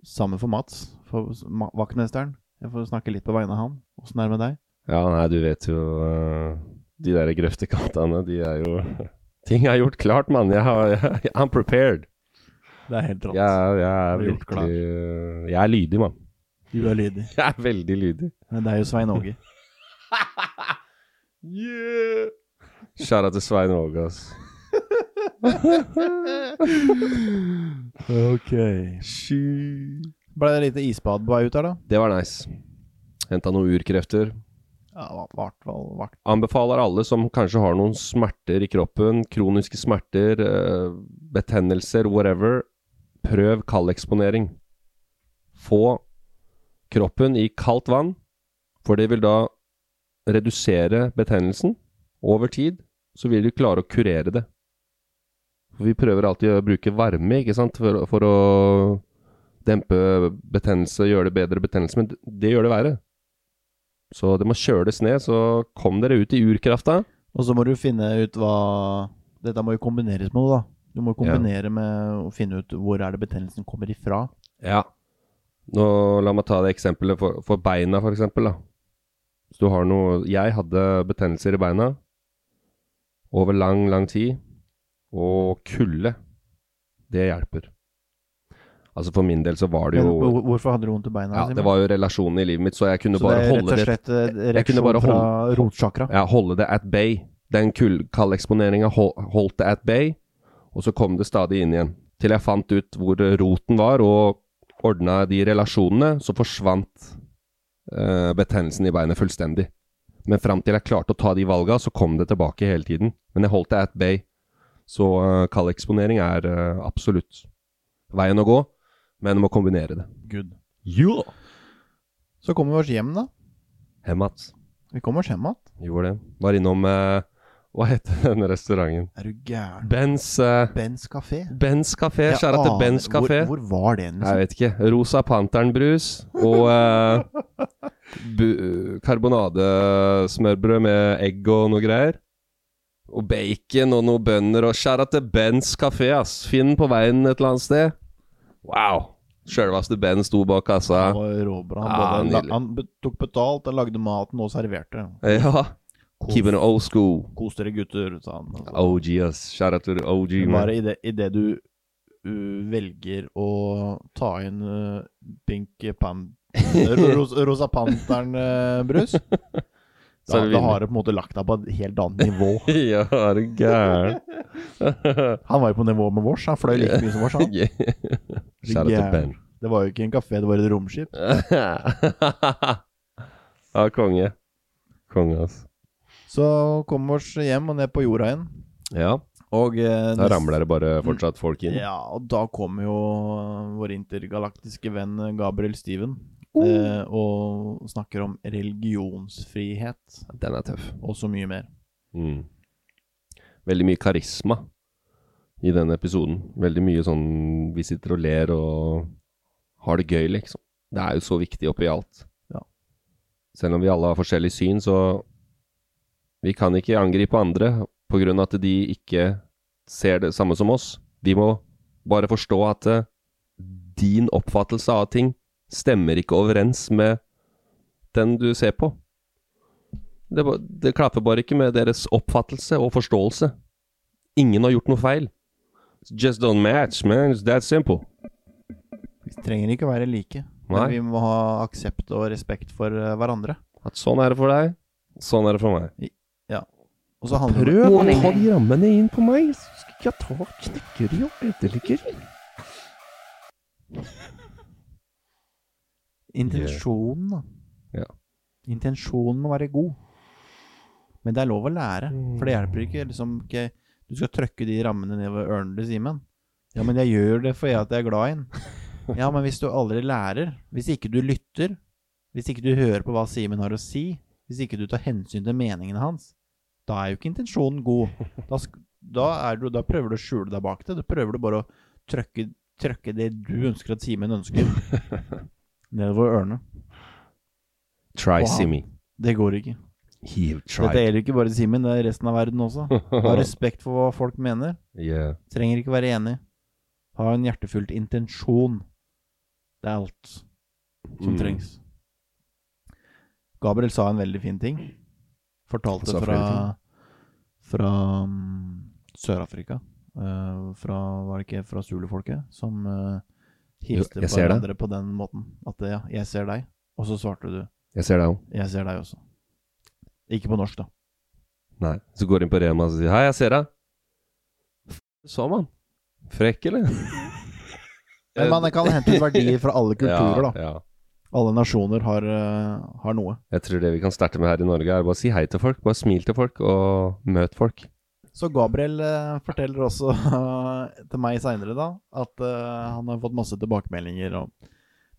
Speaker 3: sammen for Mats, for ma- vaktmesteren. Jeg får snakke litt på vegne av han. Åssen er det med deg?
Speaker 4: Ja, nei, du vet jo øh, De der grøftekantene, de er jo Ting er gjort klart, mann. Jeg har I'm prepared.
Speaker 3: Det er helt
Speaker 4: Jeg, er- jeg er
Speaker 3: Du er gjort klar.
Speaker 4: virkelig Jeg er lydig, mann.
Speaker 3: Du er lydig.
Speaker 4: Jeg er veldig lydig.
Speaker 3: Men det er jo Svein Åge.
Speaker 4: Yeah! Skjæra til Svein Åge, ass.
Speaker 3: ok. Ble det lite isbad på vei ut her, da?
Speaker 4: Det var nice. Henta noen urkrefter.
Speaker 3: Ja, i hvert fall vakt.
Speaker 4: Anbefaler alle som kanskje har noen smerter i kroppen, kroniske smerter, eh, betennelser, whatever, prøv kaldeksponering. Få kroppen i kaldt vann, for det vil da redusere betennelsen. Over tid så vil du klare å kurere det. For Vi prøver alltid å bruke varme, ikke sant, for, for å dempe betennelse, gjøre det bedre betennelse, men det gjør det verre. Så det må kjøles ned, så kom dere ut i urkrafta.
Speaker 3: Og så må du finne ut hva Dette må jo kombineres med noe, da. Du må kombinere med å finne ut hvor er det betennelsen kommer ifra.
Speaker 4: Ja. Nå La meg ta det eksempelet for, for beina, for eksempel, da. Hvis du har noe Jeg hadde betennelser i beina over lang, lang tid. Og kulde. Det hjelper. Altså, for min del så var det
Speaker 3: Men
Speaker 4: jo
Speaker 3: hvor- hvorfor hadde du vondt i beina?
Speaker 4: Ja,
Speaker 3: Simen?
Speaker 4: det var jo relasjonen i livet mitt, så jeg kunne
Speaker 3: så
Speaker 4: bare
Speaker 3: det er
Speaker 4: holde
Speaker 3: rett og
Speaker 4: det
Speaker 3: slett eh,
Speaker 4: jeg kunne
Speaker 3: reaksjon
Speaker 4: bare
Speaker 3: fra rotsjakra.
Speaker 4: Ja, holde det at bay. Den kul- kaldeksponeringa hol- holdt det at bay, og så kom det stadig inn igjen. Til jeg fant ut hvor eh, roten var, og ordna de relasjonene, så forsvant eh, betennelsen i beinet fullstendig. Men fram til jeg klarte å ta de valga, så kom det tilbake hele tiden. Men jeg holdt det at bay. Så eh, kaldeksponering er eh, absolutt veien å gå, men må kombinere det.
Speaker 3: Good.
Speaker 4: Jo!
Speaker 3: Så kommer vi oss hjem, da.
Speaker 4: Hemat.
Speaker 3: Vi kommer oss hjem igjen.
Speaker 4: Gjorde det. Var innom eh, Hva heter den restauranten?
Speaker 3: Er du gæren?
Speaker 4: Bens eh,
Speaker 3: Bens kafé.
Speaker 4: Bens kafé. Skjæra til Bens kafé.
Speaker 3: ah, Hvor, hvor var den?
Speaker 4: Jeg
Speaker 3: Liksom?
Speaker 4: vet ikke. Rosa Panteren-brus og eh, bu- karbonadesmørbrød med egg og noe greier. Og bacon og noen bønner. Og skjæra til Bens kafé, ass. Finn den på veien et eller annet sted. Wow. Sjølvaste Ben sto bak altså. kassa.
Speaker 3: Han var råbra. Han,
Speaker 4: Ah,
Speaker 3: både,
Speaker 4: nydelig.
Speaker 3: la- han be- tok betalt, han lagde maten og serverte.
Speaker 4: Ja. Keep it old school.
Speaker 3: Kos dere, gutter, sa han. Altså.
Speaker 4: OG, ass. Skjæra til OG.
Speaker 3: Men
Speaker 4: man.
Speaker 3: Bare idet i det du uh, velger å ta inn uh, Pink Pan... Ros, Rosa Panteren-brus, da,
Speaker 4: Så er det
Speaker 3: da har du på en måte lagt deg på et helt annet nivå.
Speaker 4: Ja, er du gæren.
Speaker 3: Han var jo på nivå med vårs, han fløy like mye som vårs. han.
Speaker 4: Skjæra til
Speaker 3: Gæren.
Speaker 4: Ben.
Speaker 3: Det var jo ikke en kafé, det var et romskip.
Speaker 4: ja, konge. Konge, ass.
Speaker 3: Så kom vi oss hjem og ned på jorda igjen.
Speaker 4: Ja,
Speaker 3: Og eh,
Speaker 4: da
Speaker 3: nest-
Speaker 4: ramler det bare fortsatt folk inn.
Speaker 3: Ja, og da kom jo vår intergalaktiske venn Gabriel Steven
Speaker 4: Oh.
Speaker 3: eh, og snakker om religionsfrihet
Speaker 4: Den er tøff.
Speaker 3: og så mye mer.
Speaker 4: Mm. Veldig mye karisma i den episoden. Veldig mye sånn vi sitter og ler og har det gøy, liksom. Det er jo så viktig oppi alt.
Speaker 3: Ja.
Speaker 4: Selv om vi alle har forskjellig syn, så vi kan ikke angripe andre på grunn av at de ikke ser det samme som oss. Vi må bare forstå at eh, din oppfattelse av ting stemmer ikke overens med den du ser på. Det, ba- det klaffer bare ikke med deres oppfattelse og forståelse. Ingen har gjort noe feil. It's Just don't match, man. It's that simple.
Speaker 3: Vi trenger ikke å være like,
Speaker 4: Nei.
Speaker 3: men vi må ha aksept og respekt for eh, hverandre.
Speaker 4: At sånn er det for deg, sånn er det for meg.
Speaker 3: Og så handler det
Speaker 4: Prøv å ta de rammene inn på meg, så skal jeg ta knekker i og etterligger.
Speaker 3: om intensjonen, da.
Speaker 4: Ja.
Speaker 3: Intensjonen må være god. Men det er lov å lære, for det hjelper ikke. Liksom, ikke du skal trøkke de rammene nedover ørene til Simen. Ja, men jeg gjør det fordi at jeg er glad i den. Ja, men hvis du aldri lærer, hvis ikke du lytter, hvis ikke du hører på hva Simen har å si, hvis ikke du tar hensyn til meningene hans, da er jo ikke intensjonen god. Da, sk- da, er du, da prøver du å skjule deg bak det. Da prøver du bare å trøkke, trøkke det du ønsker at Simen ønsker, nedover ørene.
Speaker 4: Try,
Speaker 3: Wow.
Speaker 4: Simi.
Speaker 3: Det går ikke.
Speaker 4: You've
Speaker 3: Dette
Speaker 4: tried.
Speaker 3: gjelder ikke bare Simen, det er resten av verden også. Ha respekt for hva folk mener.
Speaker 4: Yeah.
Speaker 3: Trenger ikke være enig. Ha en hjertefullt intensjon. Det er alt som
Speaker 4: Mm.
Speaker 3: trengs. Gabriel sa en veldig fin ting.
Speaker 4: Han
Speaker 3: Fortalte
Speaker 4: sa
Speaker 3: fra
Speaker 4: flere
Speaker 3: fra mm, Sør-Afrika. Eh, fra Var det ikke fra zulufolket? Som eh, hilste på
Speaker 4: Jo, jeg ser deg.
Speaker 3: hverandre på den måten. At ja, 'jeg ser deg', og så svarte du
Speaker 4: Jeg ser deg òg.
Speaker 3: 'jeg ser deg også'. Ikke på norsk, da.
Speaker 4: Nei. Så går jeg inn på Rema og sier 'Hei, jeg ser deg'. Så, mann. Frekk, eller?
Speaker 3: Men man kan hente ut verdier fra alle kulturer,
Speaker 4: Eh,
Speaker 3: da.
Speaker 4: ja, Ja.
Speaker 3: Alle nasjoner har, eh, har noe.
Speaker 4: Jeg tror det vi kan starte med her i Norge, er bare å si hei til folk. Bare smil til folk, og møt folk.
Speaker 3: Så Gabriel eh, forteller også eh, til meg seinere, da, at eh, han har fått masse tilbakemeldinger og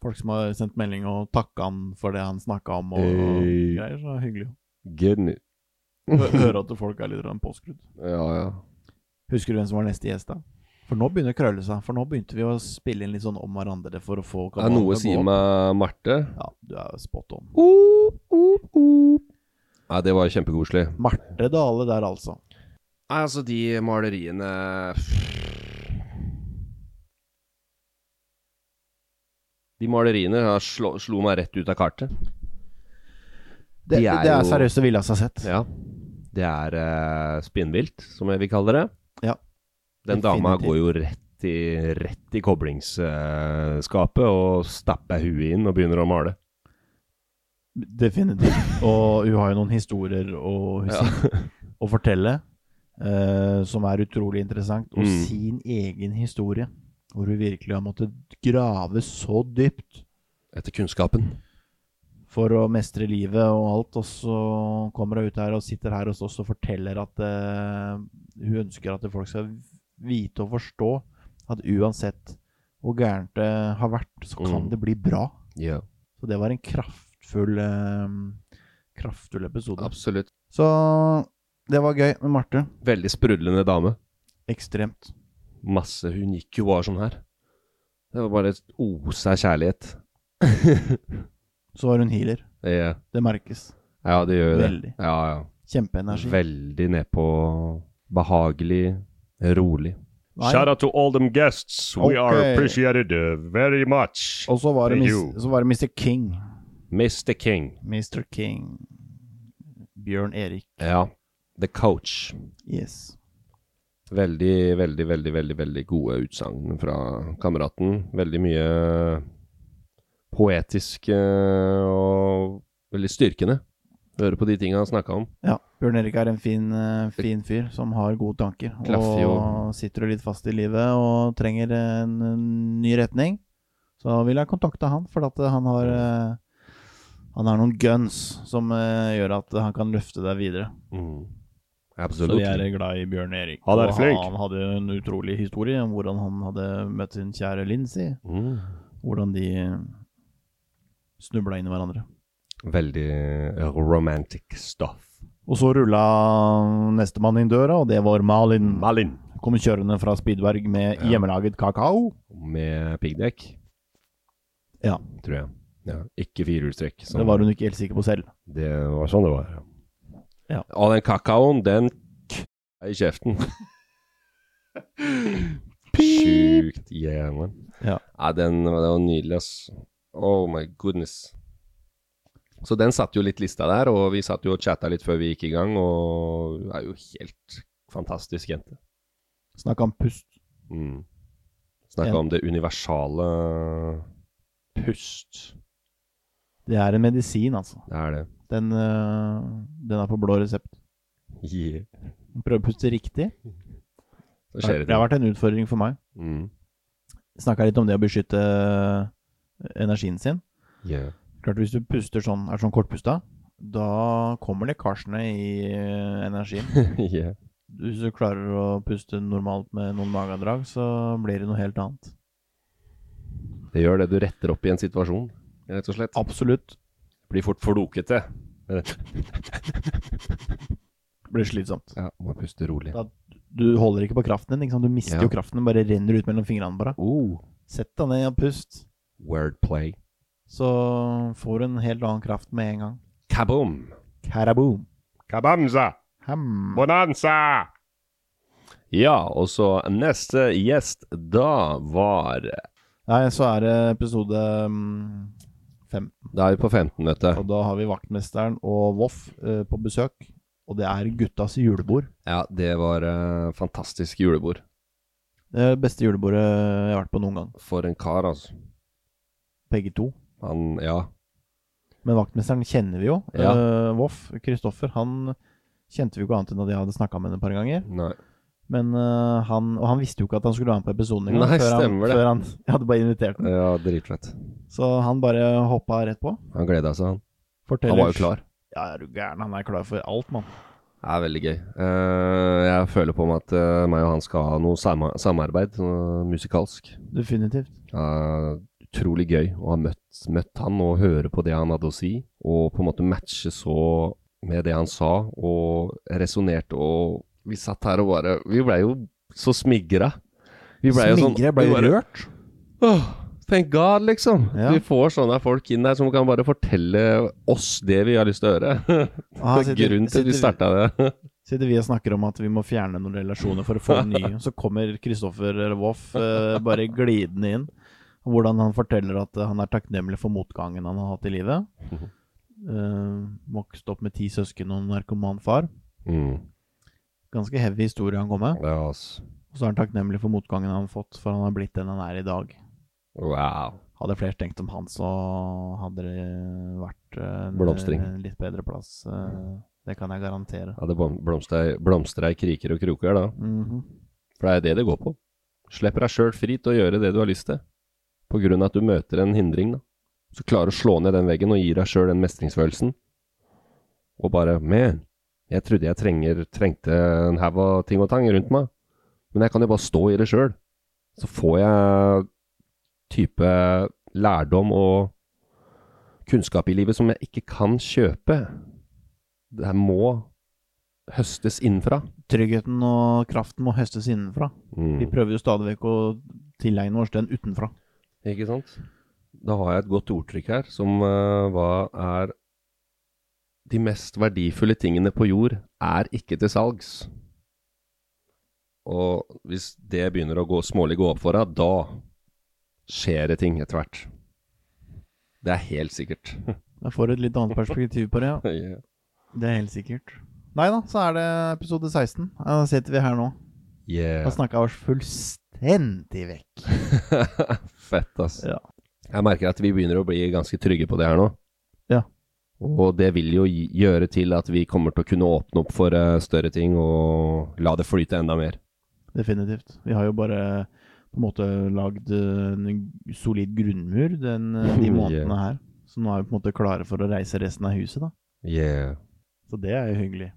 Speaker 3: folk som har sendt melding og takka han for det han snakka om og, og
Speaker 4: Hey.
Speaker 3: greier. Så det er hyggelig
Speaker 4: Good news.
Speaker 3: å hø- høre at folk er litt grann påskrudd.
Speaker 4: Ja, ja.
Speaker 3: Husker du hvem som var neste gjest, da? For nå begynner det å krølle seg. For nå begynte vi å spille inn litt sånn om hverandre for å få
Speaker 4: Det er noe
Speaker 3: til å gå
Speaker 4: sier
Speaker 3: opp.
Speaker 4: meg Marte.
Speaker 3: Ja, du er spot on.
Speaker 4: Nei, det var kjempekoselig.
Speaker 3: Marte Dale der, altså.
Speaker 4: Nei, altså, de maleriene De maleriene har slå, slo meg rett ut av kartet.
Speaker 3: Det,
Speaker 4: De
Speaker 3: det
Speaker 4: er
Speaker 3: er,
Speaker 4: jo-
Speaker 3: seriøst det villeste jeg har sett.
Speaker 4: Ja. Det er eh, spinnvilt, som jeg vil kalle det.
Speaker 3: Ja.
Speaker 4: Den dama
Speaker 3: Definitivt.
Speaker 4: går jo rett i, rett i koblingsskapet eh, og stapper huet inn og begynner å male.
Speaker 3: Definitivt. Og hun har jo noen historier å, å fortelle eh, som er utrolig interessant. Og
Speaker 4: Mm.
Speaker 3: sin egen historie. Hvor vi virkelig har måttet grave så dypt
Speaker 4: Etter kunnskapen.
Speaker 3: for å mestre livet og alt, og så kommer hun ut her og sitter her hos oss og forteller at eh, hun ønsker at folk skal vite og forstå at uansett hvor gærent det har vært, så kan
Speaker 4: Mm.
Speaker 3: det bli bra.
Speaker 4: Ja,
Speaker 3: Så det var en kraftfull, eh, kraftfull episode.
Speaker 4: absolutt.
Speaker 3: Så det var gøy med Marte.
Speaker 4: Veldig sprudlende dame.
Speaker 3: Ekstremt.
Speaker 4: Masse Hun gikk jo bare sånn her. Det var bare ose av kjærlighet.
Speaker 3: Så var hun healer.
Speaker 4: Ja.
Speaker 3: Det merkes.
Speaker 4: ja, det gjør jo det.
Speaker 3: Veldig.
Speaker 4: Ja, ja.
Speaker 3: Kjempeenergi.
Speaker 4: Veldig nedpå. Behagelig. Rolig.
Speaker 3: Nei.
Speaker 5: Shout out to all them guests. We are
Speaker 3: Okay.
Speaker 5: appreciated uh, very much.
Speaker 3: Og så var, det
Speaker 5: Hey,
Speaker 3: mis-
Speaker 5: you.
Speaker 3: så var det Mr. King.
Speaker 4: Mr. King.
Speaker 3: Mr. King. Bjørn Erik.
Speaker 4: Ja. The Coach.
Speaker 3: Yes.
Speaker 4: Veldig, veldig, veldig, veldig, veldig gode utsagn fra kameraten. Veldig mye poetisk eh, og veldig styrkende. Høre på de tinga han snakka om.
Speaker 3: Ja, Bjørn Erik er en fin, eh, fin fyr som har gode tanker.
Speaker 4: Klaffer jo.
Speaker 3: Og sitter jo litt fast i livet og trenger en, en ny retning. Så vil jeg kontakte han, for at eh, han har eh, Han har noen guns som eh, gjør at han kan løfte deg videre. Så
Speaker 4: Mm. Absolutt.
Speaker 3: vi er glad i Bjørn Erik.
Speaker 5: Han er
Speaker 3: Og
Speaker 5: flink.
Speaker 3: Han hadde jo en utrolig historie om hvordan han hadde møtt sin kjære Lincy.
Speaker 4: Mm.
Speaker 3: Hvordan de snubla inn i hverandre.
Speaker 4: Veldig romantic stuff.
Speaker 3: Og så rulla nestemann inn døra, og det var Malin.
Speaker 5: Malin.
Speaker 3: Kom kjørende fra Spydberg med hjemmelaget kakao.
Speaker 4: Med piggdekk,
Speaker 3: Ja,
Speaker 4: tror jeg. Ja, ikke firehjulstrekk. som-
Speaker 3: Det var hun ikke helt sikker på selv.
Speaker 4: Det var sånn det var.
Speaker 3: Ja.
Speaker 4: Og den kakaoen, den k- er i kjeften. Sjukt jævlig.
Speaker 3: Ja.
Speaker 4: Nei, den, den var nydelig, ass. Oh my goodness. Så den satte jo litt lista der, og vi satt jo og chatta litt før vi gikk i gang, og hun er jo helt fantastisk jente.
Speaker 3: Snakka om pust.
Speaker 4: Mm. Snakka
Speaker 3: Ja.
Speaker 4: om det universale pust.
Speaker 3: Det er en medisin, altså.
Speaker 4: Det er det.
Speaker 3: Den, øh, den er på blå resept.
Speaker 4: Yeah.
Speaker 3: Prøve å puste riktig.
Speaker 4: Så
Speaker 3: Det
Speaker 4: skjer det
Speaker 3: har vært en utfordring for meg.
Speaker 4: ting. Mm.
Speaker 3: Snakka litt om det å beskytte eh, energien sin.
Speaker 4: Yeah.
Speaker 3: Klart Hvis du puster sånn, er sånn kortpusta, da kommer lekkasjene i eh, energien.
Speaker 4: yeah.
Speaker 3: Hvis du klarer å puste normalt med noen magedrag, så blir det noe helt annet.
Speaker 4: Det gjør det. Du retter opp i en situasjon, rett og slett.
Speaker 3: Absolutt.
Speaker 4: Blir fort flokete.
Speaker 3: Blir slitsomt.
Speaker 4: Ja, må puste rolig.
Speaker 3: Da- Du holder ikke på kraften din. Ikke sant? Du mister
Speaker 4: Ja.
Speaker 3: jo kraften. Den bare renner ut mellom fingrene. Bare.
Speaker 4: Oh,
Speaker 3: Sett deg ned og pust,
Speaker 4: wordplay.
Speaker 3: så får du en helt annen kraft med en gang.
Speaker 4: Kaboom!
Speaker 3: Karaboom.
Speaker 5: Kabamza.
Speaker 3: Ham.
Speaker 5: Bonanza.
Speaker 4: Ja, og så neste gjest da var
Speaker 3: Nei, så er det episode mm, fem.
Speaker 4: Da er vi på 15, vet
Speaker 3: Og
Speaker 4: du.
Speaker 3: da har vi vaktmesteren og Voff eh, på besøk. Og det er guttas julebord.
Speaker 4: Ja, det var eh, fantastisk julebord.
Speaker 3: Det er det beste julebordet jeg har vært på noen gang.
Speaker 4: For en kar, altså.
Speaker 3: Begge to.
Speaker 4: Han Ja.
Speaker 3: Men vaktmesteren kjenner vi jo.
Speaker 4: Ja.
Speaker 3: Eh, Voff, Kristoffer, han kjente vi jo ikke annet enn at jeg hadde snakka med henne et par ganger.
Speaker 4: Nei.
Speaker 3: Men eh, han, Og han visste jo ikke at han skulle være med på episoden engang.
Speaker 4: Nei,
Speaker 3: før han-
Speaker 4: stemmer det.
Speaker 3: Før han, jeg hadde bare invitert ham.
Speaker 4: Ja, dritfett.
Speaker 3: Så han bare hoppa rett på.
Speaker 4: Han gleda seg, han.
Speaker 3: Forteller,
Speaker 4: Han var jo klar.
Speaker 3: Ja, er du gæren. Han er klar for alt, mann.
Speaker 4: Det er veldig gøy. Eh, jeg føler på meg at eh, meg og han skal ha noe sama samarbeid, noe musikalsk.
Speaker 3: Definitivt.
Speaker 4: Eh, utrolig gøy å ha møtt, møtt han og høre på det han hadde å si, og på en måte matche så med det han sa, og resonnerte, og vi satt her og bare Vi blei jo så smigra. Vi blei jo sånn
Speaker 3: Smigre ble
Speaker 4: vi bare,
Speaker 3: rørt.
Speaker 4: Åh, thank God, liksom.
Speaker 3: Ja.
Speaker 4: Vi får sånne folk inn der som kan bare fortelle oss det vi har lyst til å høre.
Speaker 3: Ah,
Speaker 4: Det er
Speaker 3: sitter-
Speaker 4: Grunnen til at vi
Speaker 3: sitter-
Speaker 4: starta det.
Speaker 3: Sitter vi og snakker om at vi må fjerne noen relasjoner for å få nye, så kommer Kristoffer eller Voff eh, bare glidende inn. Og Hvordan han forteller at eh, han er takknemlig for motgangen han har hatt i livet. Eh, vokste opp med ti søsken og en narkoman far.
Speaker 4: Mm.
Speaker 3: Ganske heavy historie han kom med.
Speaker 4: Ja, altså.
Speaker 3: Og så er han takknemlig for motgangen han har fått, for han har blitt den han er i dag.
Speaker 4: Wow.
Speaker 3: Hadde flere tenkt om han, så hadde det vært eh, en
Speaker 4: Blomstring.
Speaker 3: eh, litt bedre plass. eh, det kan jeg garantere.
Speaker 4: Ja, det blomstra i kriker og kroker, da.
Speaker 3: Mhm.
Speaker 4: For det er det det går på. Slipper deg sjøl fri til å gjøre det du har lyst til, på grunn av at du møter en hindring, da. Så klarer du å slå ned den veggen og gir deg sjøl den mestringsfølelsen. Og bare Man, jeg trodde jeg trenger, trengte en haug av ting og tang rundt meg, men jeg kan jo bare stå i det sjøl. Så får jeg type lærdom og kunnskap i livet som jeg ikke kan kjøpe. Det her må høstes innenfra.
Speaker 3: Tryggheten og kraften må høstes innenfra. Vi prøver jo stadig vekk å tilegne oss den utenfra.
Speaker 4: Ikke sant? Da har jeg et godt ordtrykk her, som eh, hva er De mest verdifulle tingene på jord er ikke til salgs. Og hvis det begynner å gå smålig gå opp for deg, da skjer det ting etter hvert. Det er helt sikkert.
Speaker 3: Jeg får et litt annet perspektiv på det, ja.
Speaker 4: Ja.
Speaker 3: Det er helt sikkert. Nei da, så er det episode 16. Da sitter vi her nå. Da
Speaker 4: yeah.
Speaker 3: snakka vi oss fullstendig vekk.
Speaker 4: Fett, ass.
Speaker 3: Ja.
Speaker 4: Jeg merker at vi begynner å bli ganske trygge på det her nå.
Speaker 3: Ja.
Speaker 4: Og det vil jo gi- gjøre til at vi kommer til å kunne åpne opp for eh, større ting og la det flyte enda mer.
Speaker 3: Definitivt. Vi har jo bare på en måte lagd eh, en solid grunnmur den, eh, de
Speaker 4: Yeah.
Speaker 3: månedene her. Så nå er vi på en måte klare for å reise resten av huset, da.
Speaker 4: Yeah.
Speaker 3: Så det er jo hyggelig.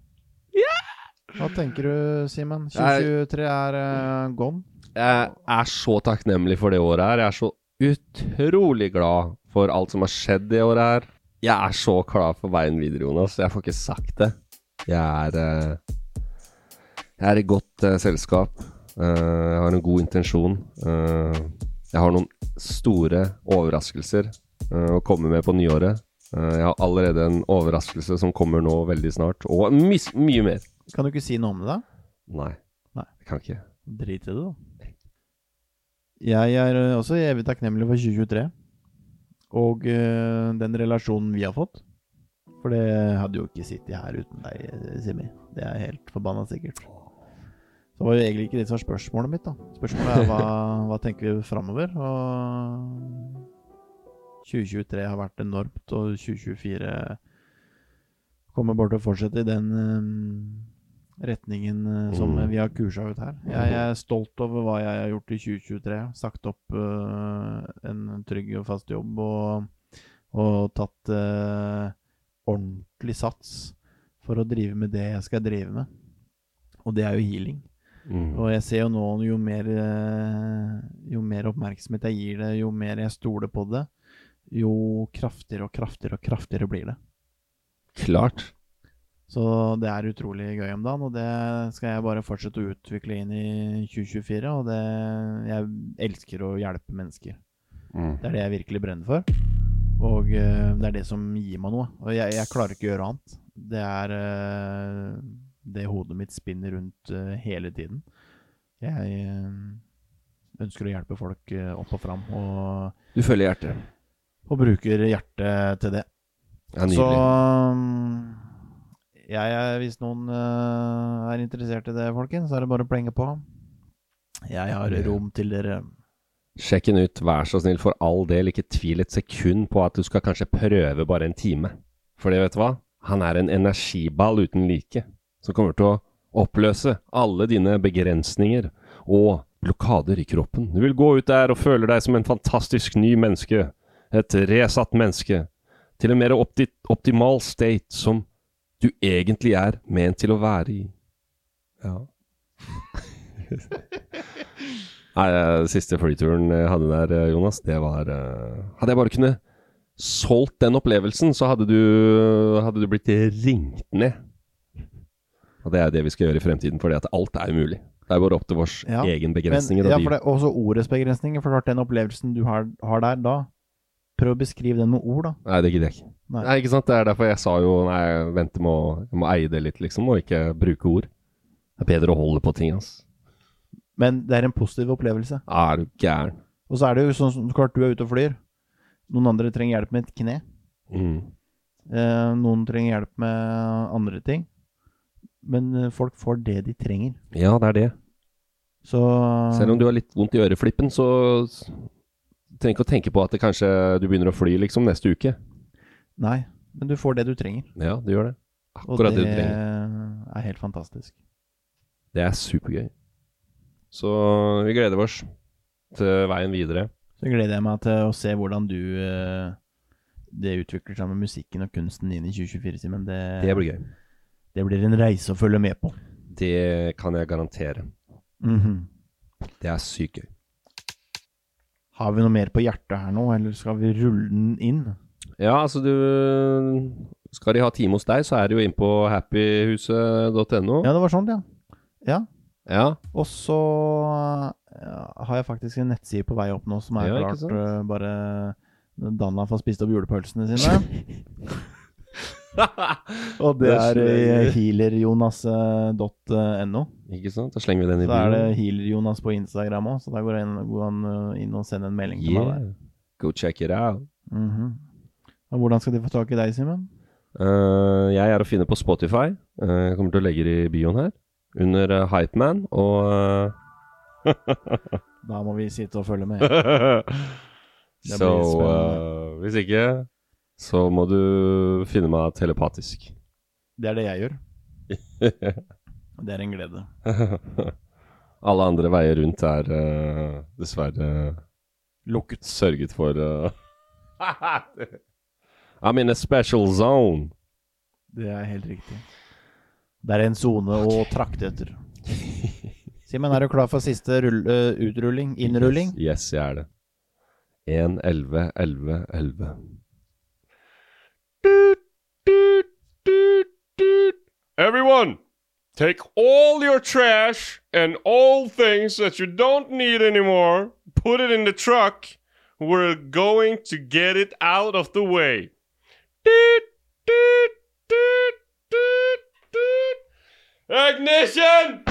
Speaker 3: Hva tenker du, Simen?
Speaker 4: Nei.
Speaker 3: 2023 er eh, gone.
Speaker 4: Jeg er så takknemlig for det året her. Jeg er så utrolig glad for alt som har skjedd det året her. Jeg er så klar for veien videre, Jonas. Jeg får ikke sagt det. Jeg er, eh, jeg er i godt eh, selskap. Eh, jeg har en god intensjon. Eh, jeg har noen store overraskelser eh, å komme med på nyåret. Eh, jeg har allerede en overraskelse som kommer nå veldig snart, og mys mye mer.
Speaker 3: Kan du ikke si noe om det? da?
Speaker 4: Nei,
Speaker 3: Nei.
Speaker 4: jeg kan ikke.
Speaker 3: Drit i det, da. Jeg er eh, også evig takknemlig for 2023 og eh, den relasjonen vi har fått. For det hadde jo ikke sittet her uten deg, eh, Simi. Det er helt forbanna sikkert. Så var jo egentlig ikke det som var spørsmålet mitt, da. Spørsmålet er hva, hva tenker vi framover? Og 2023 har vært enormt, og 2024 kommer bare til å fortsette i den eh, retningen eh, som
Speaker 4: Mm.
Speaker 3: vi har kursa ut her. Jeg er stolt over hva jeg har gjort i 2023. Sagt opp eh, en trygg og fast jobb og, og tatt eh, ordentlig sats for å drive med det jeg skal drive med. Og det er jo healing.
Speaker 4: Mm.
Speaker 3: Og jeg ser jo nå jo mer, eh, jo mer oppmerksomhet jeg gir det, jo mer jeg stoler på det, jo kraftigere og kraftigere og kraftigere blir det.
Speaker 4: Klart.
Speaker 3: Så det er utrolig gøy om dagen, og det skal jeg bare fortsette å utvikle inn i 2024. Og det, jeg elsker å hjelpe mennesker.
Speaker 4: Mm.
Speaker 3: Det er det jeg virkelig brenner for. Og eh, det er det som gir meg noe. Og jeg, jeg klarer ikke å gjøre annet. Det er eh, det hodet mitt spinner rundt eh, hele tiden. Jeg eh, ønsker å hjelpe folk eh, opp og fram, og,
Speaker 4: Du følger hjertet.
Speaker 3: og bruker hjertet til det.
Speaker 4: Ja,
Speaker 3: Så
Speaker 4: nydelig.
Speaker 3: um, jeg er, hvis noen eh, er interessert i det, folkens, så er det bare å plenge på. Jeg har rom til dere.
Speaker 4: Sjekk den ut, vær så snill, for all del. Ikke tvil et sekund på at du skal kanskje prøve bare en time. For det, vet du hva? Han er en energiball uten like, som kommer til å oppløse alle dine begrensninger og blokader i kroppen. Du vil gå ut der og føle deg som en fantastisk ny menneske. Et resatt menneske. Til en mer opti optimal state som du egentlig er ment til å være i. Ja. Nei, eh, siste flyturen jeg hadde der, eh, Jonas, det var eh, Hadde jeg bare kunne solgt den opplevelsen, så hadde du, hadde du blitt ringt ned. Og det er det vi skal gjøre i fremtiden, fordi at alt er mulig. Det er bare opp til vårs
Speaker 3: Ja,
Speaker 4: egen
Speaker 3: Men,
Speaker 4: begrensninger. og
Speaker 3: ja,
Speaker 4: de-
Speaker 3: for det er også ordets begrensninger. For klart, den opplevelsen du har, har der da, prøv å beskrive den med ord, da.
Speaker 4: Nei, det gidder jeg ikke.
Speaker 3: Nei.
Speaker 4: Nei. ikke sant? Det er derfor jeg sa jo Nei, jeg venter med å jeg må eie det litt, liksom, og ikke bruke ord. Det er bedre å holde på ting, ass.
Speaker 3: Men det er en positiv opplevelse.
Speaker 4: Er du gæren?
Speaker 3: Og så er det jo sånn som klart du er ute og flyr. Noen andre trenger hjelp med et kne.
Speaker 4: Mm.
Speaker 3: Eh, noen trenger hjelp med andre ting. Men eh, folk får det de trenger.
Speaker 4: Ja, det er det.
Speaker 3: Så
Speaker 4: Selv om du har litt vondt i øreflippen, så s- trenger ikke å tenke på at det kanskje du begynner å fly liksom neste uke.
Speaker 3: Nei, men du får det du trenger.
Speaker 4: Ja, du gjør det.
Speaker 3: Og
Speaker 4: Akkurat
Speaker 3: det
Speaker 4: det, du trenger.
Speaker 3: er helt fantastisk.
Speaker 4: Det er supergøy. Så vi gleder oss til veien videre.
Speaker 3: Så gleder jeg meg til å se hvordan du eh, Det utvikler seg med musikken og kunsten din i 2024-timen. Det,
Speaker 4: Det blir gøy.
Speaker 3: det blir en reise å følge med på.
Speaker 4: Det kan jeg garantere.
Speaker 3: Mhm.
Speaker 4: Det er sykt gøy.
Speaker 3: Har vi noe mer på hjertet her nå, eller skal vi rulle den inn?
Speaker 4: Ja, altså du Skal de ha time hos deg, så er det jo inn på happyhuset.no.
Speaker 3: Ja, det var sånn, ja. Ja.
Speaker 4: Ja.
Speaker 3: Og så ja, har jeg faktisk en nettside på vei opp nå som er
Speaker 4: Ja, ikke
Speaker 3: klart
Speaker 4: sant?
Speaker 3: eh, bare Danna får spist opp julepølsene sine. og det er eh, healerjonas.no.
Speaker 4: Ikke sant? Da slenger vi den i
Speaker 3: Så er det
Speaker 4: buen.
Speaker 3: healerjonas på Instagram òg, så da går jeg inn, går han eh, inn og sender en melding til meg
Speaker 4: Yeah.
Speaker 3: der.
Speaker 4: Go check it out.
Speaker 3: Mhm. Og hvordan skal de få tak i deg, Simen?
Speaker 4: Eh, jeg er å finne på Spotify. Eh, jeg kommer til å legge det i bioen her. Under eh, Hypeman og eh,
Speaker 3: Da må vi sitte og følge med. blir
Speaker 4: Så
Speaker 3: spennende.
Speaker 4: eh, hvis ikke, så må du finne meg telepatisk.
Speaker 3: Det er det jeg gjør. Og det er en glede.
Speaker 4: Alle andre veier rundt er eh, dessverre lukket. Sørget for eh. I'm in a special zone.
Speaker 3: Det er helt riktig. Det er en sone å trakte etter. Simen, er du klar for siste rull, eh, utrulling? Innrulling?
Speaker 4: Yes, jeg er det. 1, 11, 11, 11.
Speaker 5: Doot, doot, doot, doot. Everyone, take all your trash and all things that you don't need anymore, put it in the truck. We're going to get it out of the way. Doot, doot, doot, doot, doot. Ignition!